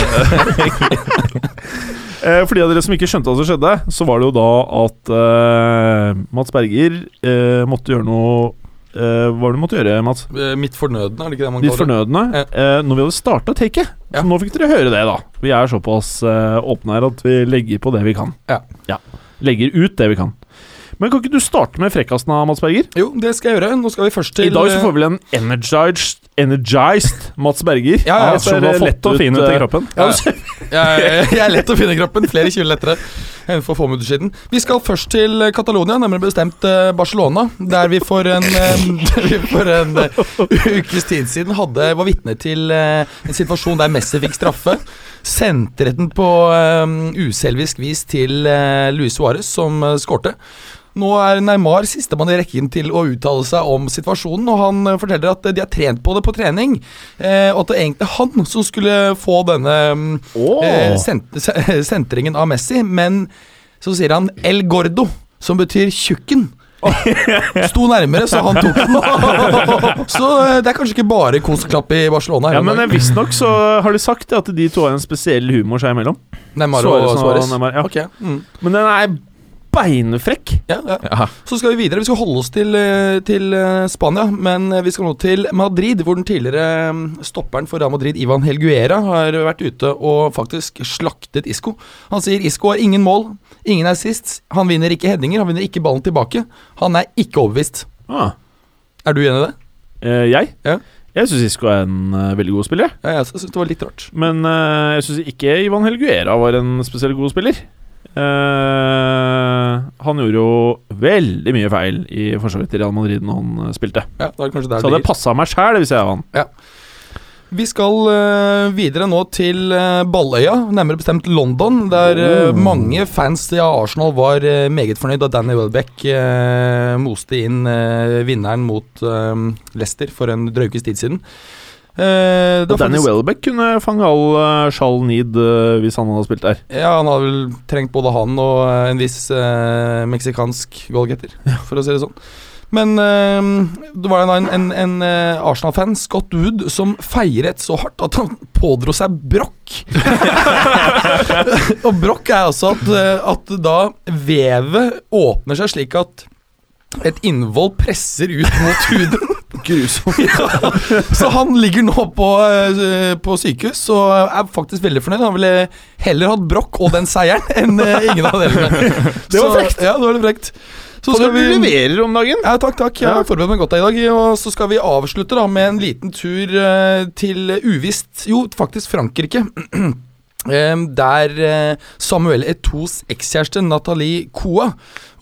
S3: Eh, For de av dere som ikke skjønte hva som skjedde, så var det jo da at eh, Mads Berger eh, måtte gjøre noe eh, Hva var det du måtte gjøre, Mats?
S6: Eh, Mitt fornødne, er det ikke det man
S3: Litt
S6: kaller det?
S3: fornødende. Eh, når vi hadde starta taket.
S6: Ja.
S3: Så nå fikk dere høre det, da. Vi er såpass eh, åpne her at vi legger på det vi kan.
S6: Ja.
S3: Legger ut det vi kan. Men kan ikke du starte med frekkasen, da, Mads Berger?
S6: Jo, det skal jeg gjøre. Nå skal vi først til
S3: I dag
S4: eh,
S3: så får vi vel en energized, energized Mats Berger.
S6: Ja, ja,
S3: Ettersom du har fått
S4: lett og fin ut i
S3: eh,
S4: kroppen.
S6: Ja, jeg, jeg er lett å finne i kroppen. Flere kilo lettere enn for få minutter siden. Vi skal først til eh, Catalonia, nærmere bestemt eh, Barcelona. Der vi for en, eh, der vi for en eh, ukes tid siden hadde, var vitne til eh, en situasjon der Messi fikk straffe. Sendte den på eh, uselvisk vis til eh, Luis Suárez, som eh, skårte. Nå er Neymar sistemann i rekken til å uttale seg om situasjonen, og han eh, forteller at eh, de har trent på det på trening, eh, og at det egentlig er han som skulle få denne mm, eh, sent se- sentringen av Messi, men så sier han El Gordo, som betyr tjukken. Sto nærmere, så han tok den. så eh, det er kanskje ikke bare koseklapp i Barcelona. her
S3: Ja,
S6: om
S3: men
S6: dagen.
S3: eh, visstnok så har de sagt det at de to har en spesiell humor seg imellom.
S6: Neymar og
S3: Suarez og
S6: Suarez.
S3: Neymar, ja.
S6: Ok, mm.
S3: Men den er beinfrekk.
S6: ja, ja.
S5: Ja.
S6: Så skal vi videre. Vi skal holde oss til, eh, til eh, Spania, men eh, vi skal nå til Madrid, hvor den tidligere eh, stopperen for Real Madrid, Ivan Helguera, har vært ute og faktisk slaktet Isco. Han sier Isco har ingen mål, ingen assists, han vinner ikke headinger, han vinner ikke ballen tilbake. Han er ikke overbevist.
S3: Ah,
S6: Er du enig i det?
S3: eh, jeg?
S6: Ja.
S3: Jeg syns Isco er en eh, veldig god spiller, jeg.
S6: Ja, jeg syns det var litt rart.
S3: men eh, jeg syns ikke Ivan Helguera var en spesielt god spiller. Eh, han gjorde jo veldig mye feil i forsvaret til Real Madrid når han eh, spilte.
S6: Ja, da er det kanskje der det
S3: Så hadde
S6: ligger.
S3: jeg passa meg sjæl hvis jeg var han.
S6: Vi skal eh, videre nå til eh, Balløya, nærmere bestemt London, der
S3: Oh.
S6: eh, mange fans av Arsenal var eh, meget fornøyd da Danny Welbeck eh, moste inn eh, vinneren mot eh, Leicester for en drøy ukes tid siden. Eh, det
S3: Og
S6: var
S3: Danny
S6: faktisk-
S3: Welbeck kunne fange all eh, sjal need eh, hvis han hadde spilt der.
S6: Ja, han har vel trengt både han og eh, en viss eh, meksikansk goalgetter, for å si det sånn. Men eh, det var da en, en, en eh, Arsenal-fan, Scott Wood, som feiret så hardt at han pådro seg brokk. og brokk er altså at, eh, at da vevet åpner seg slik at et innvoll presser ut mot huden. Grusomt. ja. Så han ligger nå på, eh, på sykehus og er faktisk veldig fornøyd. Han ville heller hatt brokk og den seieren enn eh, ingen av delene.
S3: Det var
S6: Så-
S3: frekt.
S6: Ja, det var litt frekt. Så
S3: Så vi leverer om dagen.
S6: ja, takk, takk. Jeg har forberedt meg godt her i dag. Og så skal vi avslutte da med en liten tur eh, til eh, uvisst Jo, faktisk Frankrike. Em, Der eh, Samuel Etos ekskjæreste Nathalie Coa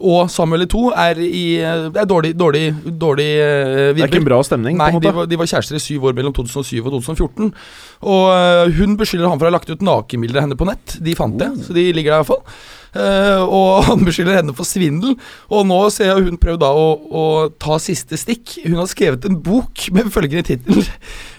S6: og Samuel Eto er i eh, Det er dårlig, dårlig, dårlig eh,
S3: Det er ikke
S6: vibber.
S3: en bra stemning.
S6: Nei,
S3: på en
S6: de
S3: måte
S6: var, de var kjærester i syv år mellom 2007 og eh, 2014.
S3: Oh.
S6: Og øh, hun beskylder han for å ha lagt ut nakenbilder av henne på nett. De fant det, så de ligger der i hvert fall. Eh, og han beskylder henne for svindel. Og nå ser jeg hun prøver da å, å ta siste stikk. Hun har skrevet en bok med følgende tittel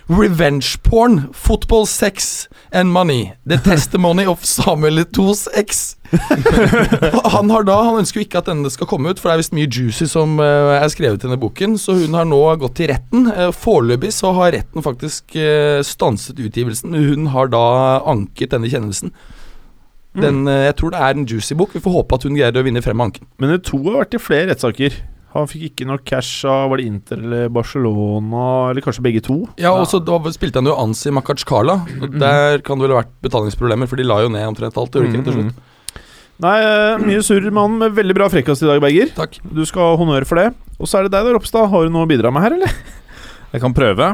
S6: Revenge porn, football, sex and money. The testimony of Samuel Letos ex. Og han har da, han ønsker jo ikke at denne skal komme ut, for det er visst mye juicy som eh, er skrevet i denne boken, så hun har nå gått til retten. Eh, Foreløpig så har retten faktisk eh, stanset utgivelsen, men hun har da anket denne kjennelsen. Den, eh, jeg tror det er en juicy bok. Vi får håpe at hun greier å vinne frem med anken.
S3: Men to har vært i flere rettssaker. Han fikk ikke nok cash av var det Inter eller Barcelona, eller kanskje begge to.
S6: Ja, og så da spilte han jo Ansi Makachkala. og Der kan det vel ha vært betalingsproblemer, for de la jo ned omtrent alt. Gjorde de ikke det til slutt?
S3: Nei, eh, mye surr med han, men veldig bra frekkas i dag, Berger.
S6: Takk.
S3: Du skal ha honnør for det. Og så er det deg da, Ropstad. Har du noe å bidra med her, eller?
S5: Jeg kan prøve.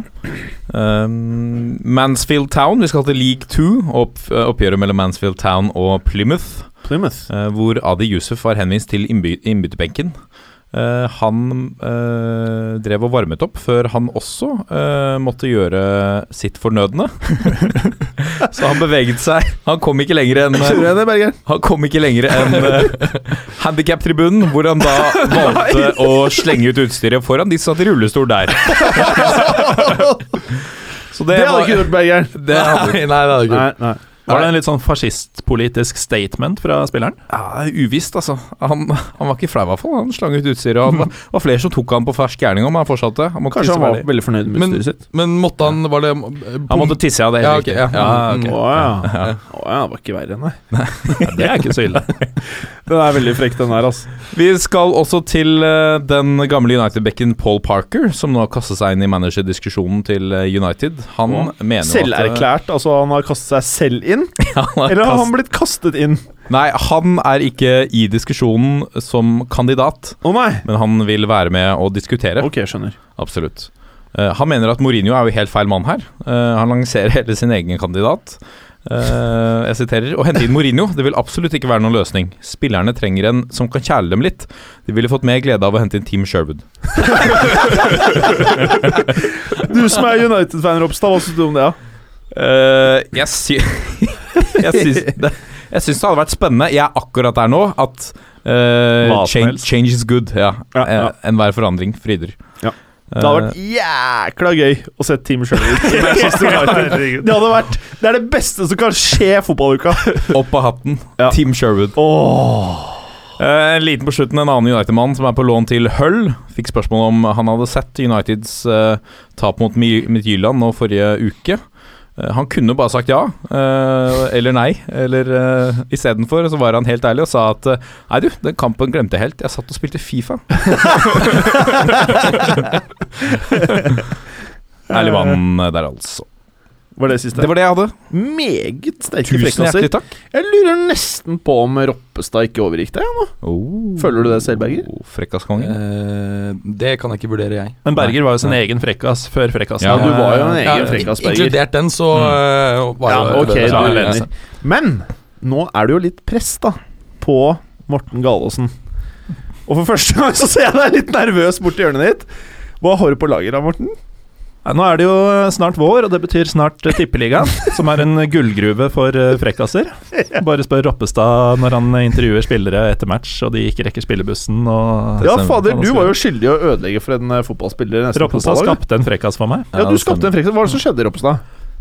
S5: Um, Mansfield Town. Vi skal til League 2, opp, eh, oppgjøret mellom Mansfield Town og Plymouth.
S3: Plymouth.
S5: eh, hvor Adi Yusuf var henvist til innby innbytterbenken. Eh, han eh, drev og varmet opp før han også eh, måtte gjøre sitt fornødne. Så han beveget seg. Han kom ikke lenger enn eh,
S3: Tror jeg det, Berger.
S5: han kom ikke lenger enn uh, handikap-tribunen, hvor han da valgte å slenge ut utstyret foran de som satt i rullestol der. Så det,
S3: Det hadde
S5: var
S3: ikke du gjort, Berger.
S5: det hadde-
S6: Nei, nei, det er
S3: Nei, nei.
S4: Var det en litt sånn fascistpolitisk statement fra spilleren?
S5: ja, Uvisst, altså. Han, han var ikke flau, i hvert fall. Han slang ut utstyret. Og det var flere som tok han på fersk gjerning om han fortsatte. Han måtte
S3: Kanskje
S5: tisse
S3: han var
S5: veldig.
S3: veldig fornøyd med
S6: Men-
S3: utstyret sitt.
S6: Men måtte han Var det eh,
S5: Han måtte tisse, ja. Det er
S6: Ja,
S5: helt
S6: ok,
S5: riktig.
S6: ja.
S5: Ja,
S3: Å
S5: ok.
S3: ja. Å ja, det var ikke verre enn det.
S4: Det er ikke så ille.
S3: Den er veldig frekk, den her, altså.
S5: Vi skal også til eh, den gamle United-bekken Paul Parker, som nå har kastet seg inn i managerdiskusjonen til eh, United. Han mener jo at eh,
S3: Selverklært. Altså, han har kastet seg selv inn.
S5: Han har
S3: Eller har
S5: kastet-
S3: han blitt kastet inn?
S5: Nei, han er ikke i diskusjonen som kandidat,
S3: Å nei.
S5: men han vil være med og diskutere.
S3: Ok, skjønner.
S5: Absolutt. Eh, han mener at Mourinho er jo helt feil mann her. Eh, han lanserer hele sin egen kandidat. Eh, jeg siterer Å hente inn Mourinho det vil absolutt ikke være noen løsning. Spillerne trenger en som kan kjæle dem litt. De ville fått mer glede av å hente inn Team Sherwood.
S3: Du som er United-fan, Ropstad, hva syns du om det? da?
S5: Eh, jeg sy jeg syns det, jeg syns det hadde vært spennende. Jeg er akkurat der nå at eh,
S3: Hva som
S5: change,
S3: helst.
S5: change is good. Ja.
S3: Ja, ja.
S5: Eh, Enhver forandring fryder.
S3: Ja.
S5: Eh,
S3: Det hadde vært jækla gøy å se Team Sherwood i Manchester United. Det hadde vært Det er det beste som kan skje i fotballuka.
S5: Eh, Opp av hatten.
S3: Ja.
S5: Team Sherwood. Eh, en liten på slutten, en annen United-mann som er på lån til Hull, fikk spørsmål om han hadde sett Uniteds eh, tap mot My- Midtjylland nå forrige uke. Eh, han kunne bare sagt ja, eh, eller nei, eller uh, istedenfor så var han helt ærlig og sa at eh, Nei, du, den kampen glemte jeg helt. Jeg satt og spilte Fifa. Ærlig mann der, altså.
S3: Var det siste?
S5: Det var det jeg hadde.
S3: meget sterke
S5: Tusen
S3: frekkaser.
S5: hjertelig takk.
S3: Jeg lurer nesten på om Roppestad ikke overgikk deg. Ja, nå. Føler du det selv, Berger?
S5: Oh, Frekkaskongen.
S6: Eh, Det kan jeg ikke vurdere, jeg.
S4: Men Berger var jo sin egen frekkas før frekkasen. Eh,
S5: Ja,
S3: Ja, du var jo en
S6: Ja,
S3: egen frekkas, Berger.
S6: Inkludert den, så eh, var
S3: Ja,
S6: jo-
S3: ok, da er jeg
S5: Ja,
S3: enig. altså. Men nå er det jo litt press, da, på Morten Galaasen. Og for første gang så ser jeg deg litt nervøs borti hjørnet ditt. Hva har du på lager da, Morten?
S4: Nei, Nå er det jo snart vår, og det betyr snart eh, Tippeligaen, som er en gullgruve for eh, frekkaser. Bare spør Roppestad når han eh, intervjuer spillere etter match, og de ikke rekker spillebussen. Og sånn-
S3: Ja,
S5: stemmer.
S3: fader, du var jo skyldig i å ødelegge for en eh, fotballspiller. i Neste
S4: Roppestad
S3: fotballag, da.
S4: skapte en frekkas for meg.
S3: Ja,
S5: Ja,
S3: du
S5: det
S3: skapte en frekkas. Hva var det som skjedde, Ropstad?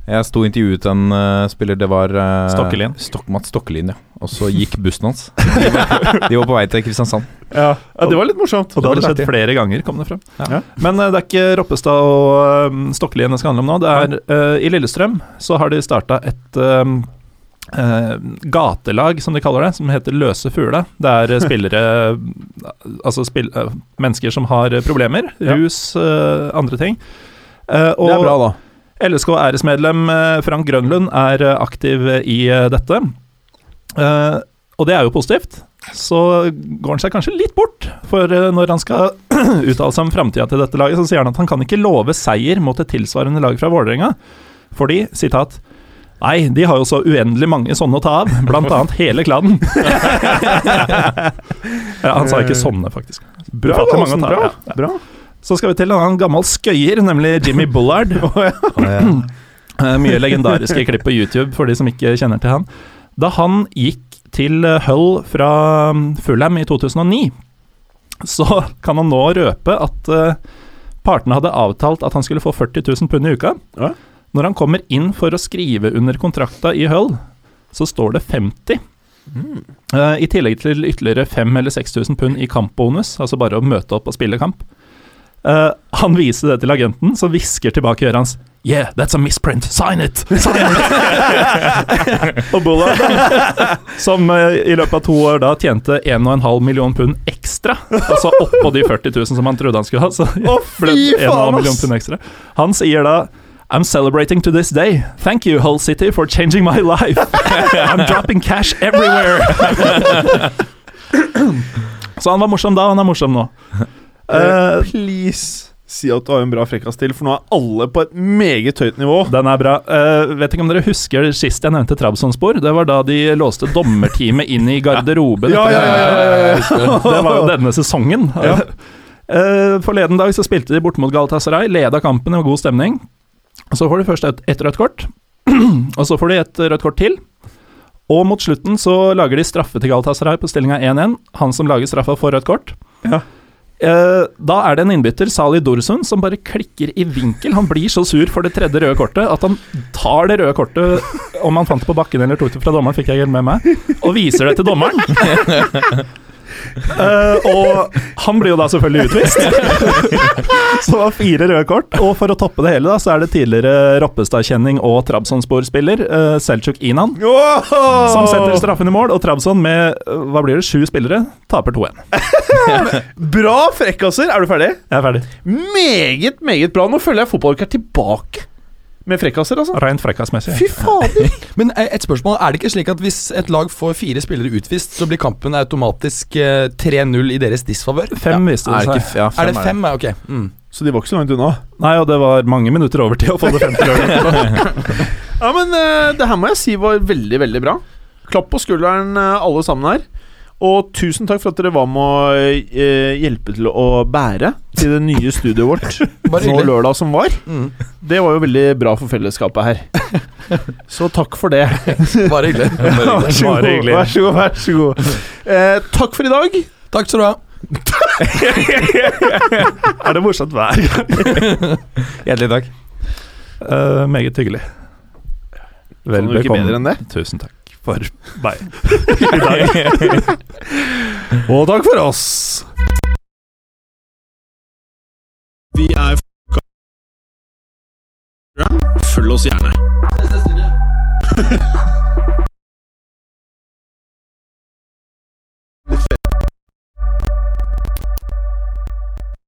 S5: Jeg sto og intervjuet en eh, spiller, det var eh,
S4: Stokkelien.
S5: Stok Mats Stokkelien, ja. Og så gikk bussen hans. De var, de var på vei til Kristiansand.
S3: Ja. det var litt morsomt.
S4: Og det hadde
S5: Det var
S4: skjedd flere ganger, kom det frem.
S3: Ja.
S4: Men eh, det er ikke Roppestad og eh, Stokkelien det skal handle om nå. Det er eh, I Lillestrøm så har de starta et eh, eh, gatelag, som de kaller det, som heter Løse fugla. Det er eh, spillere Altså spill, eh, mennesker som har eh, problemer.
S3: Ja.
S4: Rus, eh, andre ting. Eh, og
S3: det er bra, da.
S4: LSK-æresmedlem eh, Frank Grønlund er eh, aktiv eh, i eh, dette. Eh, og det er jo positivt. Så går han seg kanskje litt bort, for eh, når han skal uttale seg om framtida til dette laget, så sier han at han kan ikke love seier mot et tilsvarende lag fra Vålerenga, fordi, sitat Nei, de har jo så uendelig mange sånne å ta av, blant annet hele klanen. ja, han sa ikke sånne, faktisk.
S3: Bra,
S4: Ufattelig mange
S3: Galaasen,
S4: å ta av,
S3: bra.
S4: ja.
S3: bra.
S4: Så skal vi til en annen gammel skøyer, nemlig Jimmy Bullard. Eh, Mye legendariske klipp på YouTube for de som ikke kjenner til han. Da han gikk til eh, Hull fra mm, Fulham i 2009, så kan han nå røpe at eh, partene hadde avtalt at han skulle få 40 000 pund i uka.
S3: Ja.
S4: Når han kommer inn for å skrive under kontrakta i Hull, så står det 50. Eh, I tillegg til ytterligere 5000 eller 6000 pund i kampbonus, altså bare å møte opp og spille kamp. Eh, han viser det til agenten, som hvisker tilbake i øret hans Yeah, that's a misprint. Sign it! Sign it! og Bullard, som eh, i løpet av to år da tjente 1,5 million pund ekstra, altså oppå de 40 000 som han trodde han skulle ha, så ble det 1,5 million pund ekstra. Han sier da I'm celebrating to this day. Thank you, Hull City, for changing my life. I'm dropping cash everywhere. Så han var morsom da, han er morsom nå. Eh,
S3: please, si at du har en bra frekkas til, for nå er alle på et meget høyt nivå.
S4: Den er bra. Eh, vet ikke om dere husker sist jeg nevnte Trabzonspor? Det var da de låste dommerteamet inn i garderoben.
S3: Ja, ja, ja, ja, ja, ja.
S4: Det var jo denne sesongen. Eh, forleden dag så spilte de borte mot Galatasaray, leda kampen og god stemning. Og Så får de først et, et rødt kort, og så får de et rødt kort til. Og mot slutten så lager de straffe til Galatasaray på stillinga 1-1. Han som lager straffa, får rødt kort.
S3: Ja.
S4: Eh, da er det en innbytter, Sali Dorsund, som bare klikker i vinkel. Han blir så sur for det tredje røde kortet at han tar det røde kortet, om han fant det på bakken eller tok det fra dommeren, fikk jeg helt med meg, og viser det til dommeren. Eh, og han blir jo da selvfølgelig utvist. så det var fire røde kort. Og for å toppe det hele, da, så er det tidligere Roppestad-kjenning og Trabzonspor-spiller eh, Selchuk Inan som setter straffen i mål. Og Trabzon med eh, hva blir det, sju spillere taper 2-1.
S3: Bra frekkaser! Er du ferdig?
S4: Jeg er ferdig.
S3: Meget, meget bra. Nå føler jeg fotballuka er tilbake med frekkaser, altså.
S4: Rent frekkasmessig.
S3: Fy fader!
S6: Men eh, et spørsmål, er det ikke slik at hvis et lag får fire spillere utvist, så blir kampen automatisk eh, 3-0 i deres disfavør?
S4: Fem viste det
S5: Er det
S4: seg.
S5: ikke f- ja,
S6: Er det fem? Ja, Ok. Mm.
S3: Så de var ikke så langt unna.
S4: Nei, og det var mange minutter over til å få det frem til lørdag.
S3: Ja, men eh, det her må jeg si var veldig, veldig bra. Klapp på skulderen, eh, alle sammen her. Og tusen takk for at dere var med å eh, hjelpe til å bære til det nye studioet vårt
S6: Bare
S3: nå
S6: hyggelig.
S3: lørdag som var.
S6: Mm.
S3: Det var jo veldig bra for fellesskapet her. Så takk for det.
S6: Bare hyggelig.
S3: Vær så god.
S4: Bare hyggelig.
S3: Vær så god. Vær så god. Eh, takk for i dag.
S6: Takk skal du ha.
S4: Er det morsomt hver gang?
S5: Hjertelig takk.
S4: Eh, meget hyggelig. Vel
S3: Kan du Sånn, ikke bedre
S4: bekomme.
S3: enn det?
S4: Tusen takk for meg.
S3: Og takk for oss.
S1: Vi er f***a. Følg oss gjerne.